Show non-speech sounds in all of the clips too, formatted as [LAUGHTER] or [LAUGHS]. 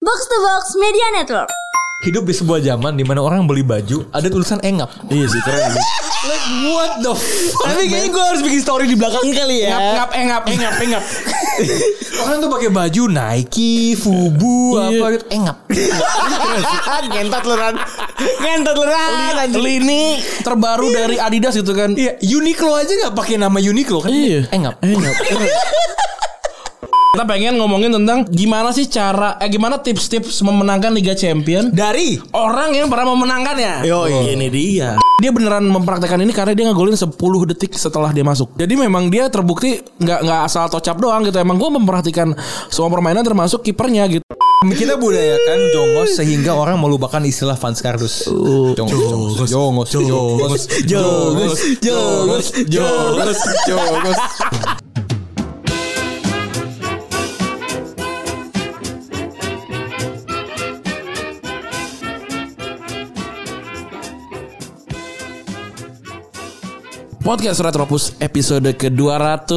Box to Box Media Network. Hidup di sebuah zaman di mana orang beli baju ada tulisan engap. Iya sih keren. Like what the fuck? Tapi kayaknya gue harus bikin story di belakang kali ya. Engap, engap, engap, engap, eh, [LAUGHS] engap. Orang tuh pakai baju Nike, Fubu, Iya. apa gitu, engap. Ah, Ngentot lu [LAUGHS] Ran. Ngentot lu Ran. Lini. Terbaru dari Adidas gitu kan. Iya, [LAUGHS] Uniqlo aja nggak pakai nama Uniqlo kan? Iya. Engap. Engap. Kita pengen ngomongin tentang gimana sih cara eh gimana tips-tips memenangkan Liga Champion Dari orang yang pernah memenangkannya. Yo, ini dia. Dia beneran mempraktekkan ini karena dia ngegolin 10 detik setelah dia masuk. Jadi memang dia terbukti nggak nggak asal tocap doang gitu. Emang gue memperhatikan semua permainan termasuk kipernya gitu. [LAUGHS] kita budayakan jongos sehingga orang melupakan istilah fans kardus. Oh. Jongos, jongos, jongos, jongos, jongos, jongos, jongos, jongos. Podcast Retropus episode ke-218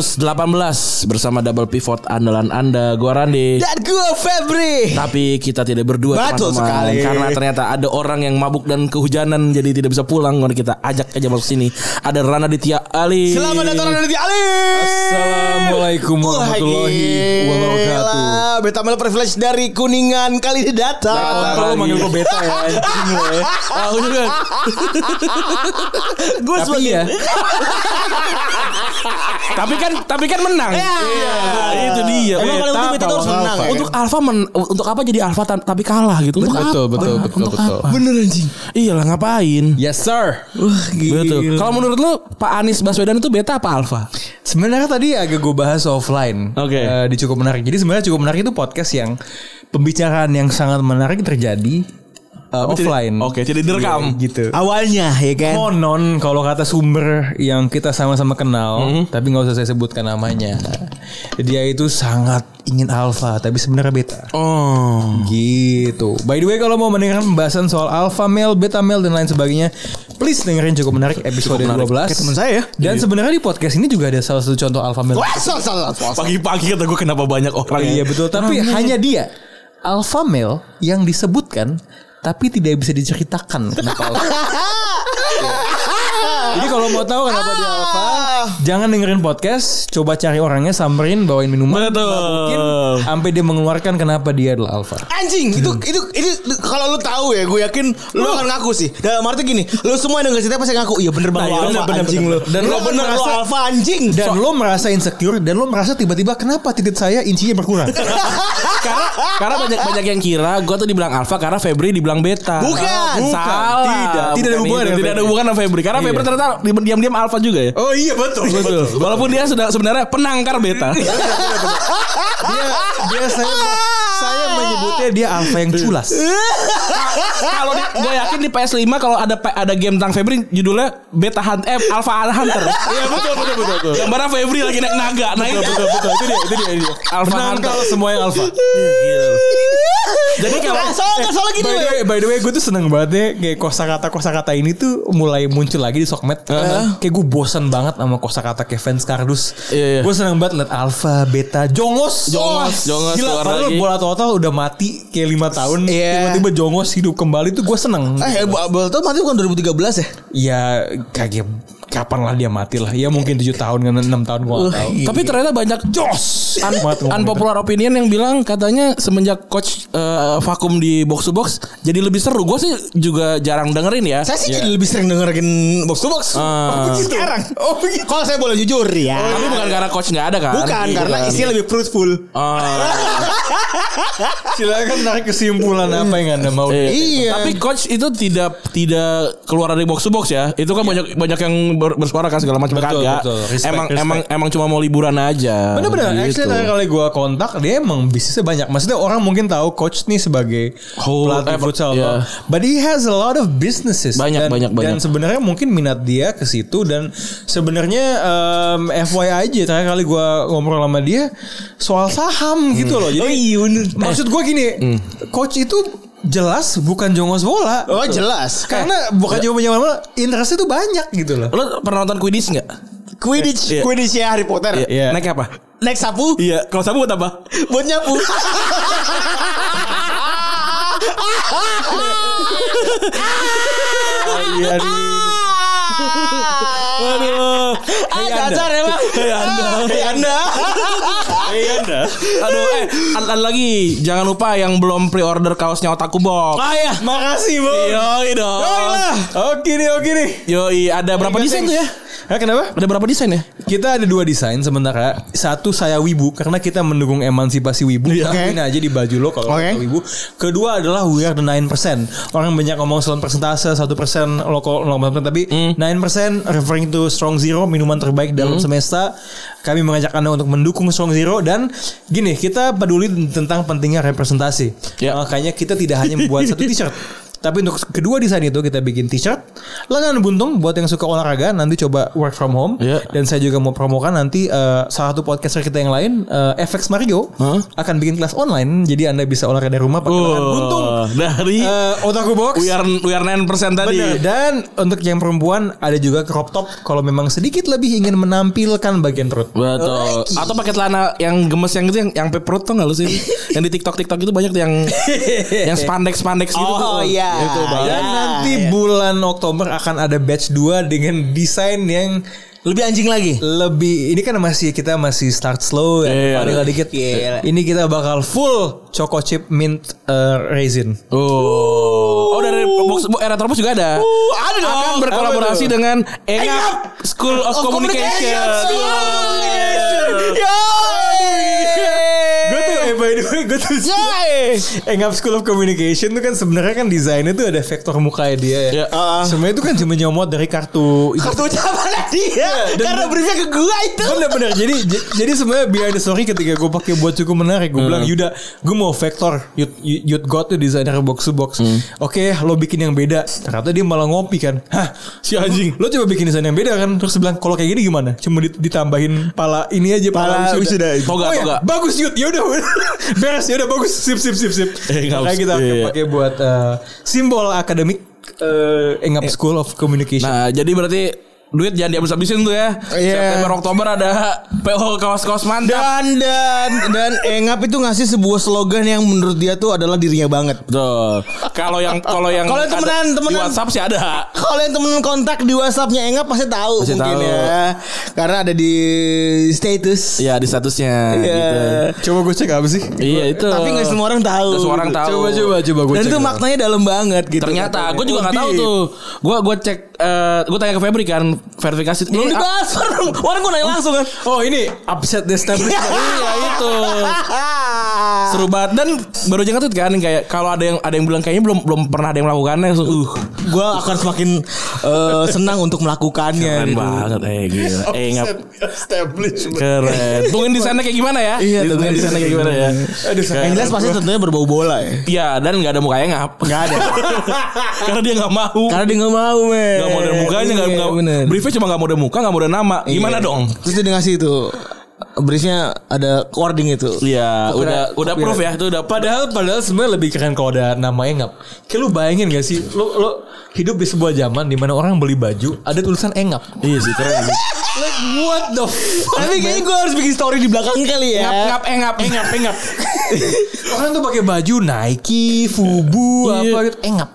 bersama double pivot andalan Anda, gua Randi. Dan gue Febri. Tapi kita tidak berdua Betul sekali. Karena ternyata ada orang yang mabuk dan kehujanan jadi tidak bisa pulang. Mari kita ajak aja masuk sini. Ada Rana Ditya Ali. Selamat Iya, datang dari Tia Ali. Assalamualaikum warahmatullahi wabarakatuh. Beta Mel Privilege dari Kuningan kali ini datang. Kalau manggil gue beta ya. anjing lo ya. Aku juga. Gue Tapi ya, [LAUGHS] tapi kan tapi kan menang. Iya. Itu dia. Iya, Emang kalau untuk beta tuh harus Alpha. menang ya? Untuk Alfa men- untuk apa jadi Alfa tan- tapi kalah gitu? Untuk Betul, apa? betul, betul, Untuk betul. apa? Bener anjing. Iyalah ngapain? yes sir. Betul. Kalau menurut lu Pak Anies Baswedan itu beta apa alfa? Sebenarnya tadi agak gue bahas offline. Oke. Eh, di cukup menarik. Jadi sebenarnya cukup menarik itu podcast yang pembicaraan yang sangat menarik terjadi eh, offline. Oke, tidak direkam. Gitu. Awalnya ya kan. Konon kalau kata sumber yang kita sama-sama kenal, tapi nggak usah saya sebutkan namanya. Dia itu sangat ingin alfa, tapi sebenarnya beta. Oh. Gitu. By the way, kalau mau mendengarkan pembahasan soal alpha male, beta male dan lain sebagainya, please dengerin cukup menarik episode 12. Kayak teman saya ya. Dan sebenarnya di podcast ini juga ada salah satu contoh alpha male. Wah, salah, salah, salah. Pagi-pagi kata gue kenapa banyak orang Iya betul, tapi hanya dia alpha male yang disebutkan tapi tidak bisa diceritakan kenapa alpha. Iya. Jadi kalau mau tahu kenapa dia alpha, jangan dengerin podcast, coba cari orangnya, samperin, bawain minuman, Betul. mungkin sampai dia mengeluarkan kenapa dia adalah alpha. Anjing, itu Hmm. itu itu kalau lu tahu ya, gue yakin lu akan ngaku sih. Dalam arti gini, lu semua yang denger cerita pasti ngaku, iya bener banget Oh. Nah, iya, lu bener, alpha, bener, anjing lu. bener. Dan Dan lu lu bener, bener lu lu- alfa anjing. Dan lo merasa insecure dan lo merasa tiba-tiba kenapa titik saya incinya [LAUGHS] berkurang. [LAUGHS] karena karena banyak banyak yang kira gue tuh dibilang alfa karena Febri dibilang beta. Bukan. Ah, Bukan. Salah. Tidak. Tidak ada Bukan hubungan itu. dengan Tidak ada Febri. hubungan sama Febri karena Febri ternyata diam-diam alfa juga ya. oh iya betul. Betul. Walaupun dia sudah sebenarnya penangkar [LAUGHS] beta. Dia, dia saya saya menyebutnya dia alpha yang culas. kalau gue yakin di PS5 kalau ada P- ada game tentang Febri judulnya Beta Hunt eh Alpha Hunter. Iya betul betul betul betul. Gambaran Febri lagi naik naga, naik. Betul betul itu dia itu dia itu dia. Alpha Menang Hunter. Iya, kalau semua yang alpha. eh, Jadi kalau Soalnya soalnya gini, By the weh. way, by the way gue tuh seneng banget deh kayak kosakata kosakata ini tuh mulai muncul lagi di sokmed. Kayak gue bosan banget sama kosakata kayak fans kardus. Iya, iya. Gue seneng banget liat alfa, beta, jongos, Jongos, jongos Gila, keluar padahal lagi. bola total udah mati kayak lima tahun. Iya. Tiba-tiba jongos hidup kembali tuh gue seneng. Eh, Abel tuh mati bukan 2013 ya? Ya kayak kapan lah dia mati lah. Ya mungkin 7 tahun kan 6 tahun gue gak tahu. iya. Tapi ternyata banyak jos un Banget ngomong unpopular opinion yang bilang katanya semenjak coach eh, vakum di box to box jadi lebih seru. Gue sih juga jarang dengerin ya. Saya sih jadi Iya. lebih sering dengerin box to box. Ah. Oh, begitu. Sekarang. Oh, begitu. Kalau saya boleh jujur ya. Tapi bukan karena coach nggak ada kan? Bukan Gitu karena kan. isinya lebih fruitful. Ah, Silakan narik kesimpulan apa yang anda mau. iya. Iya. Tapi coach itu tidak tidak keluar dari box to box ya. Itu Iya. kan banyak banyak yang ber- bersuara kan segala macam Betul, kagak. betul. Respect, emang respect. emang emang cuma mau liburan aja. Bener-bener Gitu. Actually terakhir kali gue kontak Dia emang bisnisnya banyak Maksudnya orang mungkin tahu Coach nih sebagai Whole- Pelatih eh, futsal iya. loh. But he has a lot of businesses Banyak, dan, banyak, Dan banyak. sebenarnya mungkin minat dia ke situ Dan sebenarnya em, FYI aja Terakhir kali gue ngobrol sama dia Soal Hmm. saham gitu loh Oh, Jadi iya, Eh. Maksud gue gini Coach itu jelas bukan jongos bola eh. Oh, jelas. Karena bukan Ya. cuma punya bola Interestnya tuh banyak gitu loh Lo pernah nonton Quidditch nggak? Quidditch, Iya. Quidditch ya Harry Potter. Iya. Naik apa? Naik sapu [LAUGHS] Iya, kalau sabu buat apa? buat nyapu. Iya nih. Waduh. Ah, Hei dasar emang. Hei Anda. Hei Anda. Hei Anda. Aduh, eh, ada ada lagi. Jangan lupa yang belum pre-order kaosnya Otaku Box. Ah iya. ya, makasih, Bu. Oh, Yoi dong. Oke nih, oke nih. Yoi, ada berapa desain tuh ya? Eh, Hah, kenapa? Ada berapa desain ya? Kita ada dua desain sementara. Satu saya wibu karena kita mendukung emansipasi wibu. Lakuin aja di baju lo kalau Oke. lo wibu. Kedua adalah we are the 9%. Orang banyak ngomong selain persentase 1% lokal lokal tapi 9% referring to strong zero minuman terbaik dalam semesta. Kami mengajak Anda untuk mendukung strong zero dan gini, kita peduli tentang pentingnya representasi. Ya. Makanya kita tidak hanya membuat satu t-shirt tapi untuk kedua desain itu kita bikin t-shirt lengan buntung buat yang suka olahraga nanti coba work from home Iya. dan saya juga mau promokan nanti eh, salah satu podcaster kita yang lain eh, FX Mario Hah? akan bikin kelas online jadi anda bisa olahraga dari rumah pakai lengan buntung Oh, Iya, dari Eh, otaku box we are we are 9% tadi. Bener. Dan untuk yang perempuan ada juga crop top kalau memang sedikit lebih ingin menampilkan bagian perut. Betul. Eh, Atau pakai celana yang gemes yang itu yang yang pakai perut tuh enggak lu [LAUGHS] sih? yang di TikTok TikTok itu banyak tuh yang yang spandex spandex gitu. Oh, tuh. iya. Ah, Itu Dan banget. iya. nanti bulan Oktober akan ada batch 2 dengan desain yang Lebih anjing lagi. lebih ini kan masih kita masih start slow Iya. ya yeah. dikit Iya. ini kita bakal full choco chip mint eh, raisin Oh. Oh dari box bo- eh, Retro Box juga ada. Uh, ada dong. Akan berkolaborasi Apa tuh? dengan Engap. Engap School of, Communication. Iya. Yo. gue tuh eh by the way gue tuh Engap School of Communication tuh kan sebenarnya kan desainnya tuh ada vektor mukanya dia ya. Ya, ah. Sebenarnya itu kan cuma nyomot dari kartu itu. Kartu ucapan dia dan- Karena briefnya ke gua itu Bener-bener Jadi j- jadi sebenarnya behind the story ketika gue pakai buat cukup menarik Gue bilang Yuda Gue mau vektor Youth, youth God tuh desainer box to box Oke lo bikin yang beda Ternyata dia malah ngopi kan Hah si anjing Lo coba bikin desain yang beda kan Terus dia bilang kalau kayak gini gimana Cuma dit- ditambahin pala ini aja Pala Pala, wisuda. Oh Toga, ya, toga. Bagus Yud Yaudah [LAUGHS] beres Yaudah bagus Sip sip sip sip Eh, nggak Makanya usah. kita akan Iya, iya. pakai buat eh, Simbol akademik eh, Engap School of Communication Nah, jadi berarti duit jangan dihabis-habisin tuh ya. Iya. September Oktober ada PO kaos-kaos mantap. dan dan dan Engap itu ngasih sebuah slogan yang menurut dia tuh adalah dirinya banget. Betul. Kalau yang kalau yang Kalau yang ada temenan, di temenan. WhatsApp sih ada. Kalau yang temen kontak di WhatsAppnya Engap pasti tahu Pasti mungkin tahu. ya, karena ada di status. Iya di statusnya Iya. gitu. Coba gue cek apa sih Iya itu. Tapi nggak semua orang tahu. Nggak semua orang tahu. Coba coba coba gue Dan cek itu dulu. maknanya dalam banget gitu. Ternyata gue juga nggak tahu Deep. tuh. Gue gue cek eh gue tanya ke Febri kan verifikasi. Belum Ini dibahas orang, orang gue nanya langsung [LAUGHS] kan. Oh ini upset the establishment. Iya itu seru banget dan baru aja ngetweet kan kayak kalau ada yang ada yang bilang kayaknya belum belum pernah ada yang melakukannya langsung uh Gue akan semakin eh, senang untuk melakukannya. keren gitu. banget eh gila eh ngap establishment. keren tungguin di sana kayak gimana ya Iya, tungguin di sana kayak gimana ya Aduh, Yang jelas pasti tentunya berbau bola ya. iya dan nggak ada mukanya ngap Gak ada. [LAUGHS] karena dia nggak mau Karena dia gak mau men nggak mau ada mukanya nggak Iya, nggak bener. briefnya cuma nggak mau ada muka nggak mau ada nama gimana Iya. dong Terus dia ngasih itu Briefnya ada wording itu Iya, udah udah proof ya itu udah Padahal padahal sebenarnya lebih keren kalau ada namanya engap. Kayak lu bayangin gak sih lu lu hidup di sebuah zaman di mana orang beli baju ada tulisan engap. Iya sih keren. Like what the fuck? Tapi kayaknya gue harus bikin story di belakang kali ya Ngap [LAUGHS] ngap eh, ngap eh, ngap eh, ngap. Orang tuh pakai baju Nike, Fubu, apa gitu engap.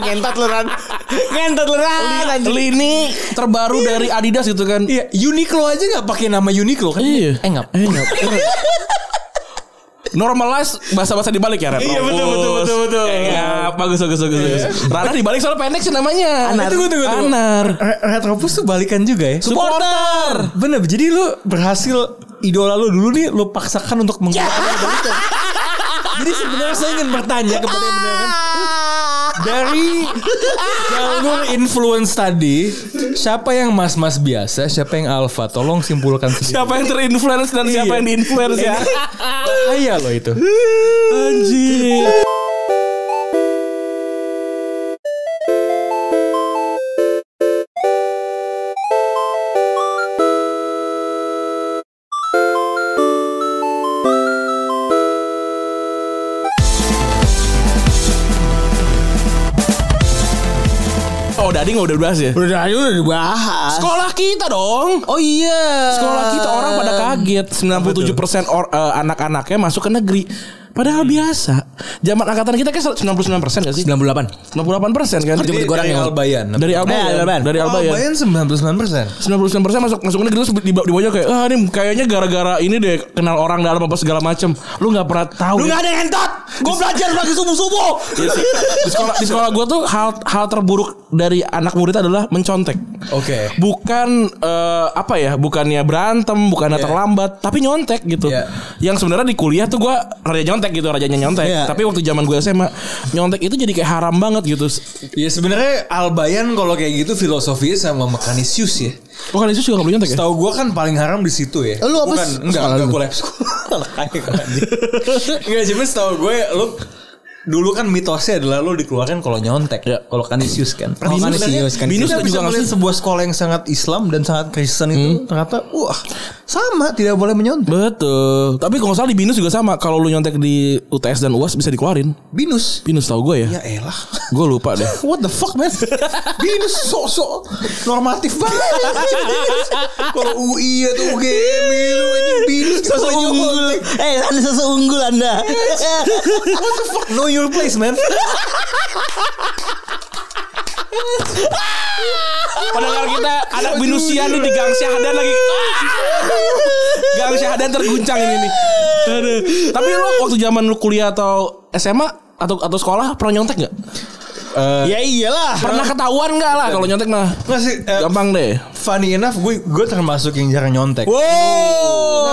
Ngentot lu Ran Ngentot lu Ran kan, anjing. Lini terbaru dari Adidas gitu kan. Iya, Uniqlo aja nggak pakai nama Uniqlo kan? Iya. Engap. Engap. Normalize bahasa-bahasa dibalik ya Ren. Iya, betul, betul, betul, betul. Engap, bagus bagus bagus. bagus. Rana dibalik soalnya pendek sih namanya. Anar. Tunggu tunggu tunggu. Anar. Re- Retropus tuh balikan juga ya. Supporter. Bener, jadi lu berhasil idola lu dulu nih lu paksakan untuk Ya. menggunakan balikan. Jadi sebenarnya saya ingin bertanya kepada yang benar dari jalur influence tadi, siapa yang mas-mas biasa, siapa yang alfa? Tolong simpulkan sendiri. Siapa yang terinfluence dan siapa Iya. yang diinfluence ya? Bahaya loh itu. Anjir. Oh, Dading udah bahas ya? Udah aja udah dibahas Sekolah kita dong. Oh iya Sekolah kita orang pada kaget 97% or- eh, anak-anaknya masuk ke negeri Padahal biasa. Zaman angkatan kita kan 99% gak sih? 98% 98. kan. Jadi Dari goreng ya. Albayan. Dari Nah, Albayan. Eh, Albayan. Dari Albayan. Albayan 99%. 99 persen masuk masuk negeri terus di, di bawahnya kayak ah ini kayaknya gara-gara ini deh kenal orang dalam apa segala macem lu nggak pernah tahu Lu ya. gak ada entot. Gue belajar lagi subuh-subuh. Iya sih. di sekolah di sekolah gue tuh hal hal terburuk dari anak murid adalah mencontek Oke. bukan eh, apa ya bukannya berantem bukannya terlambat tapi nyontek gitu Iya. yang sebenarnya di kuliah tuh gue raja nyontek gitu rajanya nyontek Iya. tapi waktu zaman gue SMA nyontek itu jadi kayak haram banget gitu Ya sebenarnya Albayan kalau kayak gitu filosofinya sama Mekanisius ya. Oh kan itu juga gak boleh nyontek ya? Tahu gua kan paling haram di situ ya. Lu apa Bukan, sih? enggak, Sekolah enggak lu? kuliah sekolah. [LAUGHS] Enggak, cuma setahu gue lu dulu kan mitosnya adalah lu dikeluarkan kalau nyontek, kalau kanisius kan. Oh, Kanisius, kan. Kanisius. Binus Juga juga nggak ngeliat sih? sebuah sekolah yang sangat Islam dan sangat Kristen itu ternyata wah sama tidak boleh menyontek. Betul. Tapi kalau nggak salah di Binus juga sama. Kalau lu nyontek di UTS dan UAS bisa dikeluarin. Binus. Binus tahu gue ya. Ya elah. Gue lupa deh. What the fuck [LAUGHS] man Binus sok-sok Normatif banget anjing, Binus. Kalau ya UI atau UGM itu anjing, Binus Sosok unggul. [LAUGHS] Eh, anda sosok unggul anda. What the fuck Know your place man Pendengar kita anak Binusian nih di Gang Syahdan lagi. Ah! Gang Syahdan terguncang ini nih. Aduh. Tapi lu waktu zaman lu kuliah atau SMA atau atau sekolah pernah nyontek nggak? Eh, ya iyalah. Pernah ketahuan nggak lah kalau nyontek mah? Nggak sih, eh, Gampang deh. Funny enough gue gue termasuk yang jarang nyontek Wow.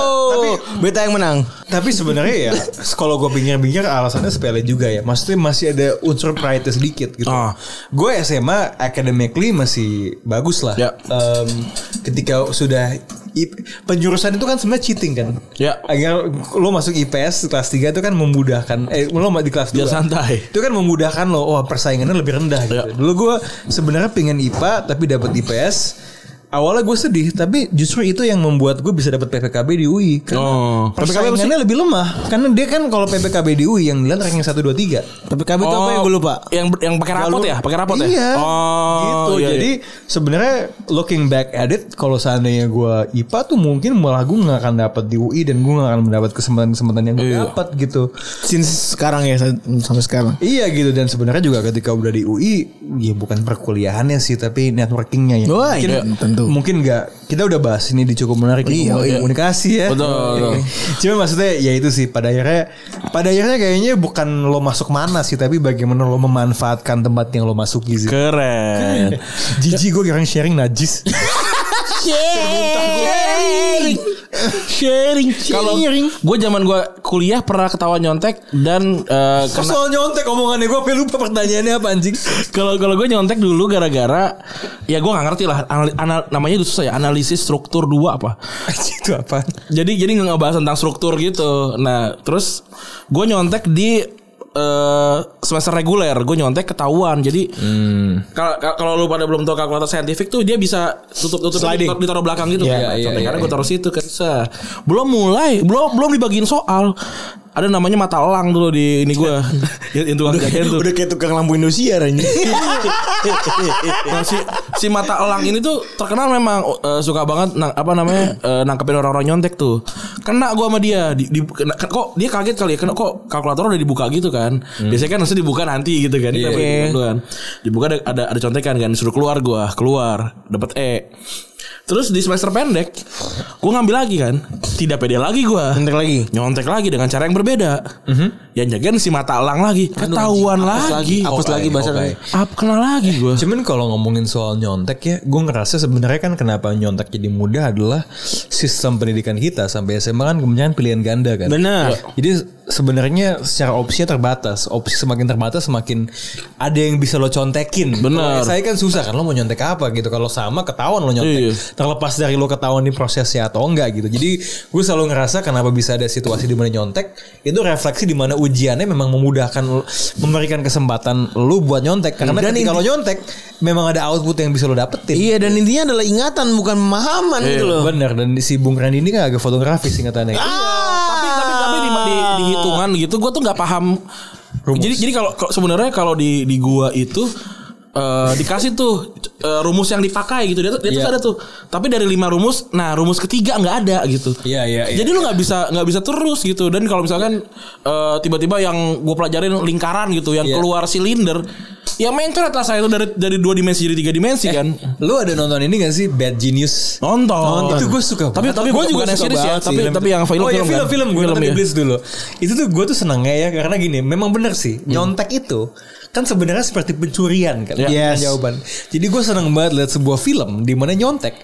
Beta yang menang. Tapi sebenarnya ya Kalau gue pinggir-pinggir alasannya sepele juga ya Maksudnya masih ada unsur pride sedikit gitu Ah. Gue SMA academically masih bagus lah Ya. Em, Ketika sudah I- penjurusan itu kan sebenarnya cheating kan Ya. Agar lo masuk IPS kelas 3 itu kan memudahkan Eh lo di kelas 2 Biar santai. itu kan memudahkan lo wah persaingannya lebih rendah gitu Iya. dulu gue sebenarnya pengen IPA tapi dapat IPS awalnya gue sedih tapi justru itu yang membuat gue bisa dapat PPKB di UI Oh. karena PPKB apa sih? persaingannya lebih lemah karena dia kan kalau PPKB di UI yang dilihat ranking 1 2 3 Tapi kami itu apa ya gue lupa. Oh. Yang yang pakai rapot ya, pakai rapot ya? Iya. Oh, gitu. iya, iya. Jadi sebenarnya looking back at it, kalau seandainya gua IPA tuh mungkin malah gue nggak akan dapat di UI dan gue nggak akan mendapat kesempatan-kesempatan yang Iya. gue dapat gitu. Since sekarang ya sampai sekarang. Iya gitu dan sebenarnya juga ketika udah di UI, ya bukan perkuliahannya sih, tapi networkingnya ya. Wah, mungkin iya, tentu. Mungkin nggak. Kita udah bahas ini di cukup menarik Iya, ngomongin iya. komunikasi ya. Betul, betul. [LAUGHS] Cuma maksudnya ya itu sih pada akhirnya, pada akhirnya kayaknya bukan lo masuk mana sih, tapi bagaimana lo memanfaatkan tempat yang lo masuki sih. Keren. Jiji gue kira sharing najis. Sharing. Sharing. Kalau gue zaman gue kuliah pernah ketawa nyontek dan eh, kena- Soal nyontek omongannya gue apa lupa pertanyaannya apa anjing. kalau kalau gue nyontek dulu gara-gara ya gue nggak ngerti lah anal- anal- namanya itu susah ya analisis struktur dua apa Anjing [LAUGHS] itu apa? jadi jadi nggak ngebahas tentang struktur gitu nah terus gue nyontek di eh, semester reguler gue nyontek ketahuan jadi Hmm. kalau kalau lu pada belum tahu kalkulator saintifik tuh dia bisa tutup tutup Sliding. ditaruh, ditaruh belakang gitu Iya, kan iya, contohnya iya, karena gue taruh situ kan Sah. belum mulai belum belum dibagiin soal ada namanya mata elang dulu di ini [LAUGHS] gue yang tukang jajan tuh Udah kayak tukang lampu Indosiar ini. Nah, si, si mata elang ini tuh terkenal memang eh, suka banget nang- apa namanya eh, nangkepin orang-orang nyontek tuh. Kena gua sama dia di, di- kena- kok dia kaget kali ya kena kok kalkulator udah dibuka gitu kan. Hmm. Biasanya kan harusnya dibuka nanti gitu kan. Ini Iya, kenapa dibuka duluan? Dibuka ada ada, ada contekan kan disuruh keluar gua, keluar dapat E. Terus di semester pendek gua ngambil lagi kan. Tidak pede lagi gua. Bentar lagi. Mhm. Nyontek lagi dengan cara yang berbeda. Yang jagain si mata elang lagi. Ketahuan lagi. Hapus Oke, lagi Oh, bahasa oke. lagi. Up kena lagi gua. Cuman kalau ngomongin soal nyontek ya, gue ngerasa sebenarnya kan kenapa nyontek jadi mudah adalah sistem pendidikan kita sampai SMA kan kemudian pilihan ganda kan. Benar. Jadi sebenarnya secara opsinya terbatas. Opsi semakin terbatas semakin ada yang bisa lo contekin. Benar. Saya kan susah kan lo mau nyontek apa gitu. Kalau sama ketahuan lo nyontek. Iya. Terlepas dari lo ketahuan di prosesnya atau enggak gitu. Jadi gue selalu ngerasa kenapa bisa ada situasi di mana nyontek itu refleksi di mana ujiannya memang memudahkan lo- memberikan kesempatan lo buat nyontek karena Dan ketika inti- lo nyontek memang ada output yang bisa lo dapetin. Iya dan intinya adalah ingatan bukan pemahaman Iya, gitu loh. Bener dan si Bung Randy ini kan agak fotografis ingatannya. Iya, Ah. tapi tapi tapi di, di, di hitungan gitu gue tuh nggak paham jadi jadi kalau kalau sebenarnya kalau di di gua itu eh eh, dikasih tuh eh, rumus yang dipakai gitu dia, tuh- dia tuh Iya. ada tuh tapi dari lima rumus nah rumus ketiga nggak ada gitu Iya, iya, iya. jadi lu nggak bisa nggak bisa terus gitu dan kalau misalkan eh, tiba-tiba yang gue pelajarin lingkaran gitu yang Iya. keluar silinder ya mencret lah saya itu dari dari dua dimensi jadi tiga dimensi Eh. kan Lu ada nonton ini gak sih Bad Genius? nonton, Itu gue suka tapi banget. tapi Gua gue juga suka series ya banget tapi sih. tapi yang film oh, ya, film, kan? film, gue nonton ya. di Blitz dulu itu tuh gue tuh senengnya ya karena gini memang bener sih Hmm. nyontek itu kan sebenarnya seperti pencurian kan Iya. Yes. jawaban jadi gue seneng banget lihat sebuah film di mana nyontek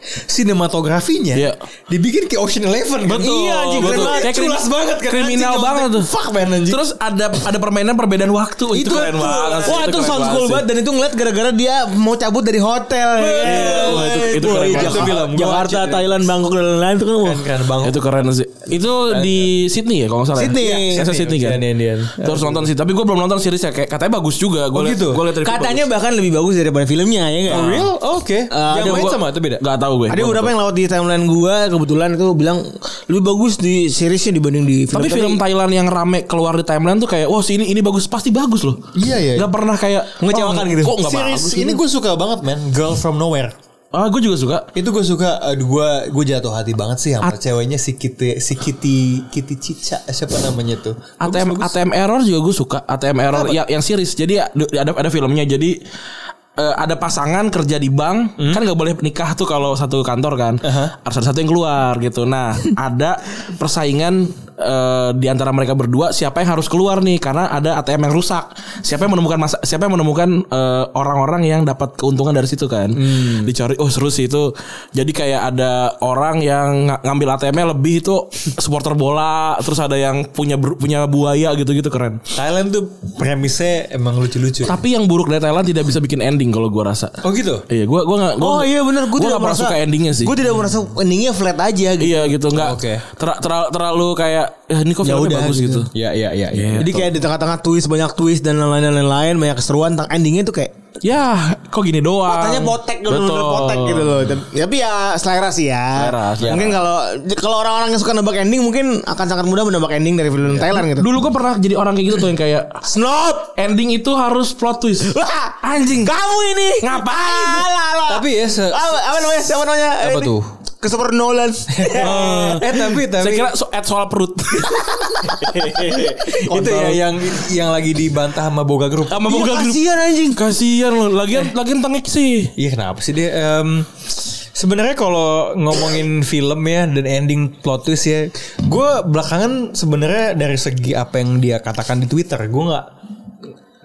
sinematografinya Iya. dibikin kayak Ocean Eleven kan? Betul, iya anjing keren betul. banget Kayak culas krim- banget kan kriminal anjing, banget nyontek. tuh. fuck man anjing Terus ada ada permainan perbedaan waktu itu, keren banget. sih, Wah itu keren sound cool sih. banget dan itu ngeliat gara-gara dia mau cabut dari hotel. ya. Iya, wah, itu itu Wah, keren iya, banget. film. Jakarta, Thailand, Bangkok dan lain-lain itu kan wah. keren banget Itu keren sih. Itu di Sydney ya kalau nggak salah. ya? Sydney. Iya, Saya Sydney, Sydney kan. Sydney, Indian. Terus nonton sih, tapi gue belum nonton seriesnya kayak katanya bagus juga. Gue Oh, gitu? Gue liat review Katanya bahkan lebih bagus daripada filmnya ya nggak? Oh, real oke yang ada main gua- sama atau beda Gak tau gue. Ada Gua beberapa Ah, nggak yang lewat di timeline gua kebetulan itu bilang lebih bagus di seriesnya dibanding di tahu. film. tapi film Thailand yang rame keluar di timeline tuh kayak wah si ini ini bagus pasti bagus loh. Iya, iya. Gak pernah kayak Ngecewakan oh, gitu. Kok gak Series bagus? ini gue suka banget man Girl from Nowhere Ah gue juga suka. itu gue suka aduh gue gue jatuh hati banget sih sama ceweknya si Kitty si Kitty Kitty Cica eh, siapa namanya tuh ATM ATM error juga gue suka ATM error ya, yang series jadi ya, ada ada filmnya jadi eh, ada pasangan kerja di bank kan nggak boleh nikah tuh kalau satu kantor kan harus ada satu yang keluar gitu nah [LAUGHS] ada persaingan eh, di antara mereka berdua siapa yang harus keluar nih karena ada ATM yang rusak siapa yang menemukan masa, siapa yang menemukan eh, orang-orang yang dapat keuntungan dari situ kan Hmm. dicari oh seru sih itu jadi kayak ada orang yang ng- ngambil ATM-nya lebih itu supporter bola terus ada yang punya ber- punya buaya gitu-gitu keren Thailand tuh premisnya emang lucu-lucu tapi yang buruk dari Thailand tidak bisa bikin ending kalau gua rasa oh gitu iya gua gua nggak gua Oh iya benar, gua gue nggak pernah suka endingnya sih Gue tidak merasa endingnya flat aja gitu. iya gitu nggak Oke. ter- ter- terlalu kayak eh, ini kok filmnya udah, bagus gitu, gitu. ya ya ya, ya. Jadi kayak di tengah-tengah twist banyak twist dan lain-lain dan lain-lain banyak keseruan tentang endingnya tuh kayak ya kok gini doang katanya potek gitu Betul. bener potek gitu loh. Dan- Tapi ya selera sih ya. Selera, selera. Mungkin kalau kalau orang-orang yang suka nebak ending mungkin akan sangat mudah menebak ending dari film Thailand Iya. gitu. dulu gua pernah jadi orang kayak gitu tuh yang kayak Snob. ending itu harus plot twist Wah, anjing kamu ini ngapain Alah, alah. tapi ya se- apa, apa namanya? Siapa namanya? Apa Ini. tuh? Christopher [LAUGHS] Nolan. eh tapi tapi Saya kira so, at soal perut [LAUGHS] itu ya yang yang lagi dibantah sama boga Iya. grup sama boga grup. Kasihan anjing. Kasihan loh, Eh. lagian lagian tengik sih. Iya kenapa sih dia em, Sebenarnya kalau ngomongin film ya dan ending plot twist ya, gue belakangan sebenarnya dari segi apa yang dia katakan di Twitter, gue nggak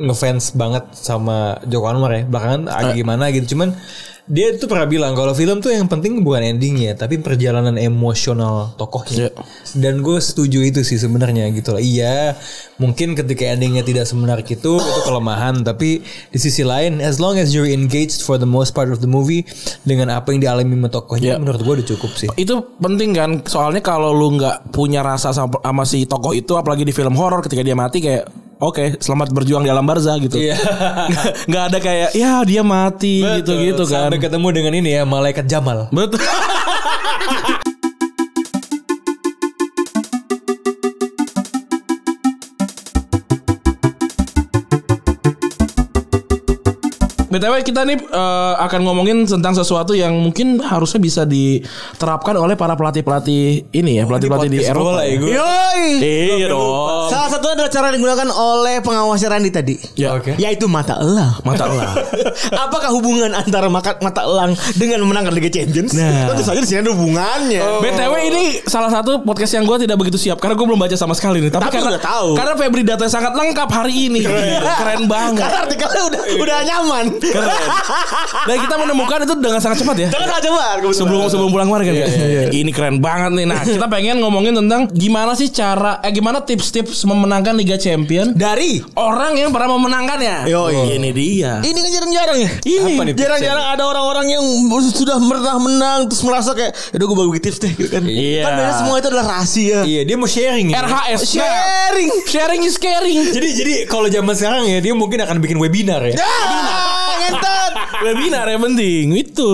ngefans banget sama Joko Anwar ya. Belakangan agak gimana gitu, cuman dia tuh pernah bilang kalau film tuh yang penting bukan endingnya, tapi perjalanan emosional Iya. tokohnya. Dan gue setuju itu sih sebenarnya gitu lah. Iya, mungkin ketika endingnya tidak semenarik itu itu kelemahan, tapi di sisi lain, as long as you're engaged for the most part of the movie dengan apa yang dialami sama tokohnya, Iya. menurut gue udah cukup sih. Itu penting kan, soalnya kalau lu nggak punya rasa sama, sama si tokoh itu, apalagi di film horor ketika dia mati kayak oke selamat berjuang di alam barzah gitu. [LAUGHS] Iya. nggak ada kayak ya dia mati gitu Betul. gitu kan. Sampai ketemu dengan ini ya malaikat Jamal. Betul. BTW kita nih eh, akan ngomongin tentang sesuatu yang mungkin harusnya bisa diterapkan oleh para pelatih-pelatih ini ya, pelatih-pelatih di, podcast Eropa. bola ya, gua. Yoi. Iya dong. Salah satu adalah cara yang digunakan oleh pengawas Randy tadi. Ya. Oke. Yaitu mata elang. Mata elang. Apakah hubungan antara maka- mata elang dengan menangkan Liga Champions? Nah. Oh. Tentu saja di sini ada hubungannya. BTW ini salah satu podcast yang gue tidak begitu siap karena gue belum baca sama sekali nih. Tapi, Tapi karena udah tahu. Iya. karena Febri data sangat lengkap hari ini. Gila, Keren banget. Iya. Karena artikelnya udah udah nyaman. [LAUGHS] Dan Nah, kita menemukan itu dengan sangat cepat ya. Jangan salah Nah, coba. Sebelum sebelum pulang kemarin kan. Ini keren banget nih. Nah, kita pengen ngomongin tentang gimana sih cara eh gimana tips-tips memenangkan Liga Champion dari orang yang pernah memenangkannya. Yoi. Ini dia. Iya. ini kan jarang-jarang ya. Ini. Oh. Apa nih? Jarang-jarang ada orang-orang yang sudah pernah menang terus merasa kayak udah gue bagi tips deh gitu kan. Iya. Kan biasanya semua itu adalah rahasia. Iya dia mau sharing. ya. RHS. Nah, Sharing. sharing is caring. Jadi jadi kalau zaman sekarang ya dia mungkin akan bikin webinar ya. [LAUGHS] Ah, ngentot. webinar yang penting itu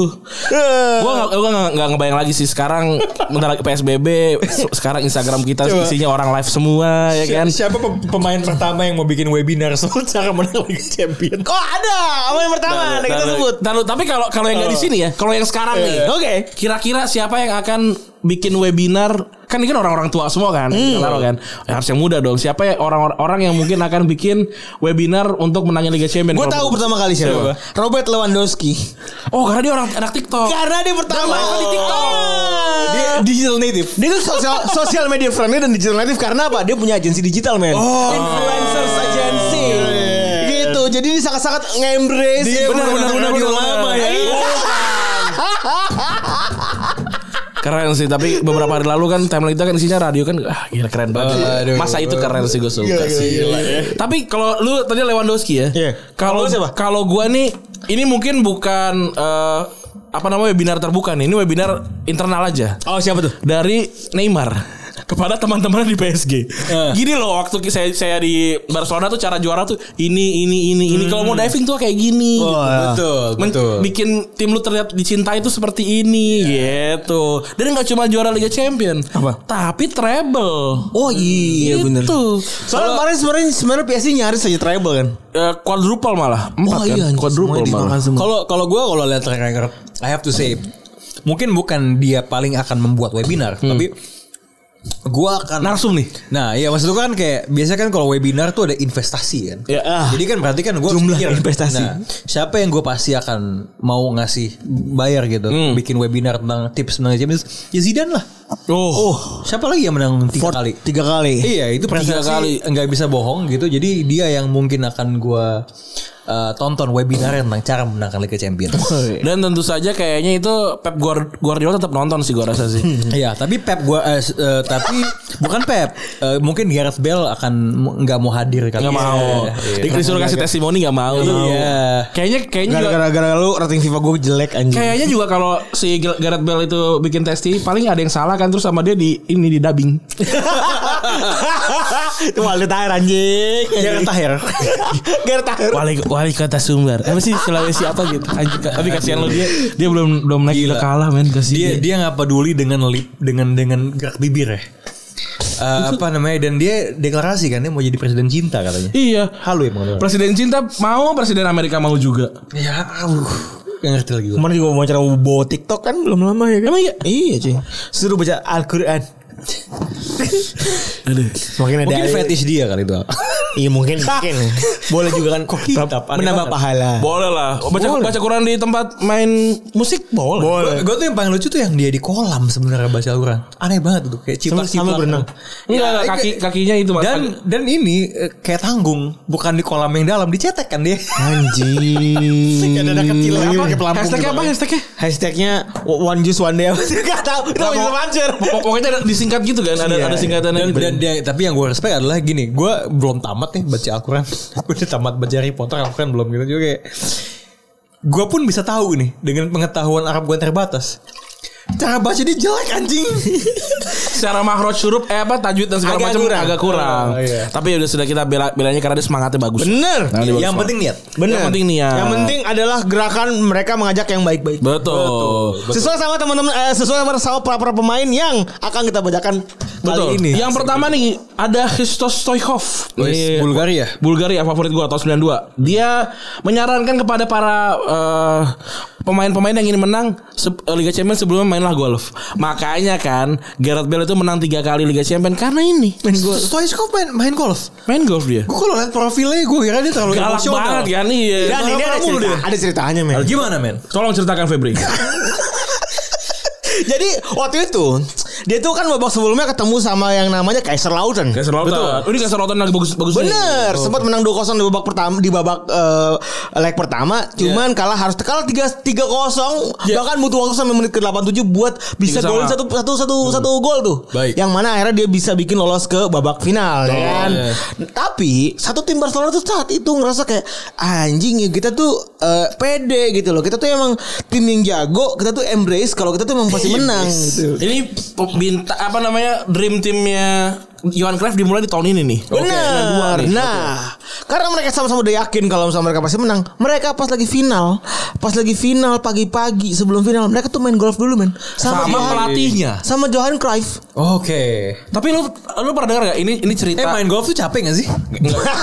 gua nggak gua nggak- nggak ngebayang lagi sih sekarang bentar lagi PSBB se- sekarang Instagram kita Coba. isinya orang live semua ya kan Siapa pem- pemain pertama yang mau bikin webinar soal cara menang Liga Champion? Oh ada Apa yang pertama Nah, Ada kita sebut Ntar lu- tapi kalau kalau yang nggak Oh. di sini ya, kalau yang sekarang nih, Eh. oke. Kira-kira siapa yang akan bikin webinar? Kan ini kan orang-orang tua semua kan, Hmm. kita taruh kan. Eh, harus yang muda dong. Siapa ya orang-orang yang mungkin akan bikin webinar untuk menangin Liga Champions? Gue Kalau tahu menurut- pertama kali siapa Robert Lewandowski Oh, karena dia orang anak TikTok. Karena dia pertama main di TikTok. Dia digital native Dia tuh sosial, sosial media friendly dan digital native Karena apa? Dia punya agensi digital men Oh. Influencers agency Iya, Gitu Jadi dia sangat-sangat nge-embrace Iya, Dia benar-benar benar-benar lama ya. Keren sih, tapi beberapa hari lalu kan timeline kita kan isinya radio kan, ah gila keren banget. Masa itu keren sih gue suka sih. ya. ya. Tapi kalau lu tadi Lewandowski ya. Iya. Kalau kalau gua nih ini mungkin bukan eh, apa namanya webinar terbuka nih. Ini webinar internal aja. Oh siapa tuh? Dari Neymar kepada teman-teman di PSG. Iya. Gini loh waktu ki- saya saya di Barcelona tuh cara juara tuh ini ini ini ini. Kalau mau diving tuh kayak gini. gitu. Hmm. Oh, iya. Betul, Men- bikin tim lu terlihat dicintai itu seperti ini Iya. gitu. Dan nggak cuma juara Liga Champion, tapi treble. Oh iya Gitu. bener Itu. Soalnya kemarin sebenarnya sebenarnya PSG nyaris aja treble kan. Oh, iya, Eh, quadruple malah. Empat kan? Quadruple malah. Kalau kalau gue kalau lihat track record, I have to say, mungkin bukan dia paling akan membuat webinar, Hmm. tapi gue akan Narsum nih. Nah, iya maksud gue kan kayak biasanya kan kalau webinar tuh ada investasi kan. Ya, ah. Jadi kan berarti kan gue Jumlah investasi. Nah, siapa yang gue pasti akan mau ngasih bayar gitu, Hmm. bikin webinar tentang tips menang Champions? Ya Zidane lah. Oh. Siapa lagi yang menang tiga kali? Tiga kali. Iya, itu Tiga prestasi kali. nggak bisa bohong gitu. Jadi dia yang mungkin akan gue tonton webinar tentang cara menangkan Liga Champions. Oh, [LAUGHS] iya. Dan tentu saja kayaknya itu Pep Guar- Guardiola tetap nonton sih gua rasa sih. Iya, tapi Pep gua eh, s- eh, tapi bukan Pep. Eh, mungkin Gareth Bale akan mu- nggak mau hadir kali. ya. Iya. Nah, Gak ini. mau. Di- Disuruh kasih testimoni gak mau. Iya. Kayaknya kayaknya juga- Gara-gara lu rating FIFA gue jelek anjing. Kayaknya juga kalau si Gareth Bale itu bikin testi paling ada yang salah kan terus sama dia di ini di dubbing. [LAUGHS] Itu Walid Tahir anjing. Gara ya, Tahir. Gara Tahir. [LAUGHS] Wali, wali kota Sumber. Apa sih Sulawesi apa gitu. Anjing, tapi kasihan lo dia. Dia belum belum naik Gila. udah kalah men Dia kasihan. dia nggak peduli dengan lip dengan dengan gerak bibir ya. Eh, apa namanya dan dia deklarasi kan dia mau jadi presiden cinta katanya. Iya. Halu ya mengenai. Presiden cinta mau, presiden Amerika mau juga. Ya, aduh. Nggak ngerti lagi gue. Kemarin juga mau cara bawa TikTok kan belum lama ya kan? Emang iya? Iya cuy. Suruh baca Al-Quran. Semakin ada Mungkin fetish dia kali itu. Iya mungkin mungkin. [LAUGHS] Boleh juga kan kok menambah pahala. Oh, Boleh lah. Baca baca Quran di tempat main musik boleh. Gue tuh yang paling lucu tuh yang dia di kolam sebenarnya baca Al-Quran. Aneh banget tuh kayak Sambil- ciplak-ciplak. sambil berenang. Enggak, enggak, Ya, kaki kakinya itu Mas. Dan dan ini eh, kayak tanggung, bukan di kolam yang dalam, dicetek kan dia. Anjing. Ada anak kecil apa pakai pelampung. gitu, Hashtagnya apa? ya? Hashtagnya? Hashtagnya one juice one day [LAUGHS] apa sih? Gak tau Itu Nah, bisa pokok- [LAUGHS] mancur pokok- Pokoknya ada disingkat gitu kan, ada ada singkatannya Iya. dan, gitu. dan dia- tapi yang gue respect adalah gini gue belum tamat nih baca Al-Quran [LAUGHS] gue udah tamat baca Harry Potter Al-Quran belum gitu juga kayak gue pun bisa tahu nih dengan pengetahuan Arab gue terbatas cara baca dia jelek anjing secara makhraj huruf eh apa tajwid dan segala Agak macam kurang. agak kurang. Oh, iya. Tapi ya udah sudah kita bela belanya karena dia semangatnya bagus. Bener Nah, dia bagus yang banget. Nah. penting niat Bener Yang penting niat. Yang penting adalah gerakan mereka mengajak yang baik-baik betul. Sesuai sama teman-teman eh, Sesuai sama- sama para-para pemain yang akan kita bacakan Betul. kali ini Yang pertama nih ada Christos Stoichkov. Iya, Iya, Ini Bulgaria. Bulgaria favorit gua tahun 92. Dia menyarankan kepada para eh, pemain-pemain yang ingin menang se- eh, Liga Champions sebelumnya mainlah golf. Makanya kan Gareth Bale itu menang tiga kali Liga Champions karena ini Stoichkov main, main golf main golf dia. gue kalau liat profilnya gue kira dia terlalu Galak banget kan iya. Dan ini ada, Marah-marah mulu cerita, dia. ada ceritanya men gimana men Tolong ceritakan Febri. [LAUGHS] Jadi waktu itu Dia tuh kan babak sebelumnya ketemu sama yang namanya Kaiser Lautern Kaiser Lautan. Betul. Ini Kaiser Lautan lagi bagus Oh. bagus. Bener, sempat menang 2-0 di babak pertama di babak eh, leg pertama, cuman kalah harus kalah 3 3-0 bahkan butuh waktu sampai menit ke-87 buat bisa Tiga sama. golin satu satu satu satu gol tuh. Baik. Yang mana akhirnya dia bisa bikin lolos ke babak final ya kan. Iya. Tapi satu tim Barcelona tuh saat itu ngerasa kayak anjing ya kita tuh eh, pede gitu loh. Kita tuh emang tim yang jago, kita tuh embrace kalau kita tuh emang pasti menang gitu. Ini pe- bintang apa namanya dream teamnya Johan Cruyff dimulai di tahun ini nih. Benar. Nah, Karena mereka sama-sama udah yakin kalau sama mereka pasti menang. Mereka pas lagi final, pas lagi final pagi-pagi sebelum final, mereka tuh main golf dulu men. sama Johan- pelatihnya. sama Johan [LAUGHS] Cruyff. Oke. Tapi lu lu pernah dengar gak ini ini cerita? Eh main golf tuh capek gak sih?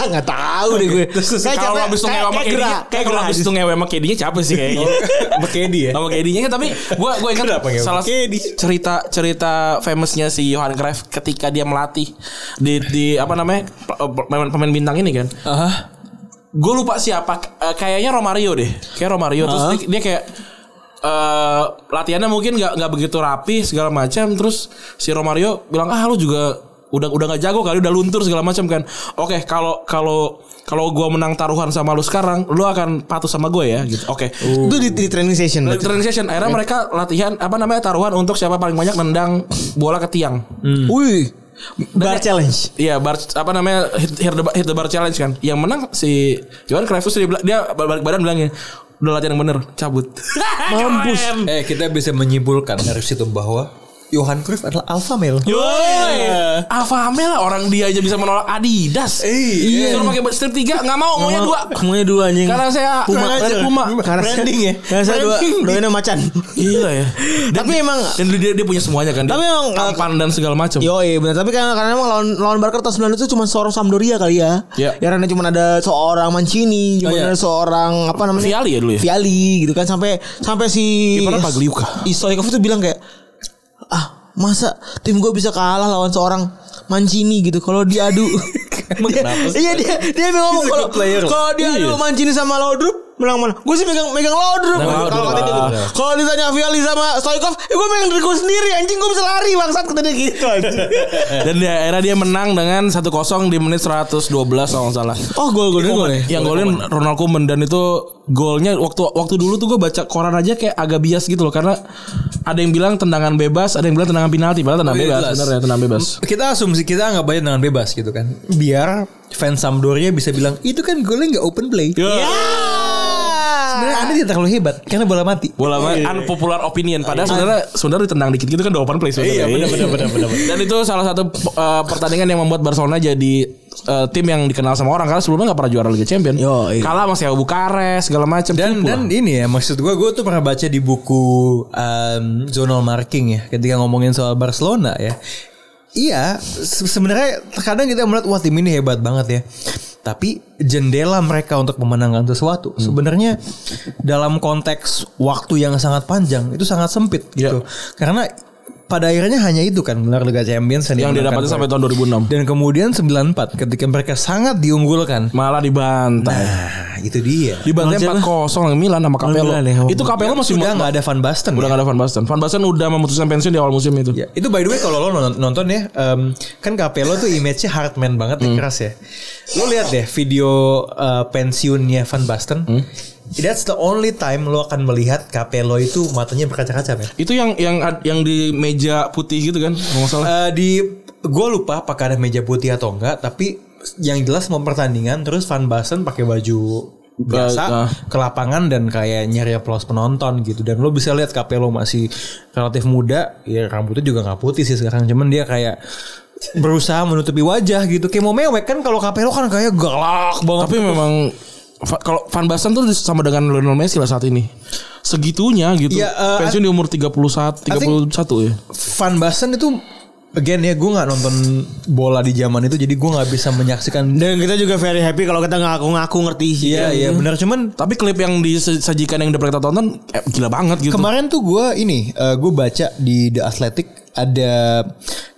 Enggak tahu deh gue. Kayak kalau capek, habis itu ngewe kayak- sama kayak KD-nya, gerak, kayak kalau gerak. habis itu ngewe sama KD-nya capek sih [LAUGHS] kayaknya. Bekedi ya. Sama KD-nya kan, tapi gua gua ingat ngewe salah sama KD? cerita cerita famousnya si Johan Cruyff ketika dia melatih di di apa namanya? pe- pe- pemain pemain bintang ini kan. Gue lupa siapa eh, kayaknya Romario deh. Kayak Romario terus dia, dia kayak eh latihannya mungkin nggak nggak begitu rapi segala macam terus si Romario bilang ah lu juga udah udah nggak jago kali udah luntur segala macam kan oke kalau kalau kalau gua menang taruhan sama lu sekarang lu akan patuh sama gue ya gitu oke Itu di, di training session. Lagi training session akhirnya mereka latihan apa namanya taruhan untuk siapa paling banyak nendang bola ke tiang Wih. Bar challenge. Iya bar apa namanya hit, hit, the, bar- hit the bar challenge kan. Yang menang si Johan Cruyff terus dia, bila- dia balik badan bilangnya udah latihan yang bener cabut. Mampus. Eh kita bisa menyimpulkan dari situ bahwa Johan Cruyff adalah alpha male. [LAUGHS] Yoi. Alfa Amel orang dia aja bisa menolak Adidas. Iya. Suruh pakai strip 3 enggak mau maunya 2. Semuanya dua anjing. Karena saya Puma. saya Puma. Karena Branding ya? Karena saya dua, Branding. doainnya macan. Gila ya. Tapi emang [LAUGHS] Dan dia, dia punya semuanya kan. Dia Tapi emang, tampan dan segala macam. Yoi benar tapi karena karena emang lawan lawan Barker tahun 90 itu cuma seorang Sampdoria kali ya. Iya. Ya karena cuma ada seorang Mancini, cuma iya. ada seorang apa Oh, namanya? ya. Viali ya dulu ya? Viali gitu kan sampai sampai si Kipernya Pagliuca. Istoikov itu bilang kayak ah masa tim gue bisa kalah lawan seorang Mancini gitu kalau [LAUGHS] diadu. Dia- iya dia dia ngomong He's a kalau good player. kalau diadu Mancini sama Laudrup menang mana? Gue sih megang Iya. megang Laudrup. Laudrup, Kalau kata dia ah. gitu. Kalau ditanya Viali sama Stoikov, ya gue megang diri gue sendiri anjing gue bisa lari bangsat kata dia gitu anjing. Dan di akhirnya dia menang dengan 1-0 di menit 112 kalau nggak salah. [LAUGHS] Oh gol golnya Yang gol ya? Yang golin Ronald Koeman dan itu golnya waktu waktu dulu tuh gue baca koran aja kayak agak bias gitu loh karena ada yang bilang tendangan bebas, ada yang bilang tendangan penalti, padahal tendangan bebas, Jelas. bener ya tendangan bebas. Kita asumsi kita nggak bayar dengan bebas gitu kan. Biar fans Sampdoria bisa bilang "Ya!" itu kan golnya nggak open play. Ah. Sebenarnya Anda tidak terlalu hebat karena bola mati. Bola mah Iya. unpopular opinion padahal sebenarnya sebenarnya ditendang dikit gitu kan udah open play sebenarnya. Iya, benar benar benar Dan itu salah satu eh, pertandingan yang membuat Barcelona jadi eh, tim yang dikenal sama orang karena sebelumnya nggak pernah juara Liga Champions. Yo, iya. Kalah sama Sewa Bukares segala macam. Dan Cupu dan lah. ini ya maksud gue gue tuh pernah baca di buku um, zonal marking ya ketika ngomongin soal Barcelona ya. Iya, se- sebenarnya terkadang kita melihat wah tim ini hebat banget ya. Tapi jendela mereka untuk memenangkan sesuatu sebenarnya dalam konteks waktu yang sangat panjang itu sangat sempit gitu. Karena pada akhirnya hanya itu kan gelar Liga Champions yang dimenangkan didapatkan sampai oleh- tahun 2006. dan kemudian 94 ketika mereka sangat diunggulkan. Malah dibantai. Nah, itu dia. Dibantai Milan 4-0 yang Milan sama Capello. Milan ya, sama itu Capello masih Sudah nggak ada Van Basten. udah ya? nggak ada Van Basten. Van Basten udah memutuskan pensiun di awal musim itu. Ya, itu by the way kalau lo non- nonton ya, em, kan Capello tuh image-nya hardman banget ya, keras ya. Lo lihat deh video eh, pensiunnya Van Basten. That's the only time lo akan melihat Capello itu matanya berkaca-kaca, men. Itu yang yang ad- yang di meja putih gitu kan, kalau nggak salah. Eh, di gue lupa apakah ada meja putih atau enggak, tapi yang jelas mau pertandingan terus Van Basten pakai baju biasa Ba- ah. ke lapangan dan kayak nyari aplaus penonton gitu dan lo bisa lihat Capello masih relatif muda ya rambutnya juga nggak putih sih sekarang cuman dia kayak berusaha menutupi wajah gitu kayak mau mewek kan kalau Capello kan kayak galak banget Tapi memang Fa- kalau Van Basten tuh sama dengan Lionel Messi lah saat ini. Segitunya gitu. Iya, eh, pensiun di umur 31 I think- 31 ya. Van Basten itu again ya gue nggak nonton bola di zaman itu jadi gue nggak bisa menyaksikan Dan kita juga very happy kalau kita ngaku-ngaku ngerti sih. iya iya benar cuman Tapi klip yang disajikan yang udah pernah kita tonton eh, gila banget gitu. Kemarin tuh gue ini gue baca di The Athletic ada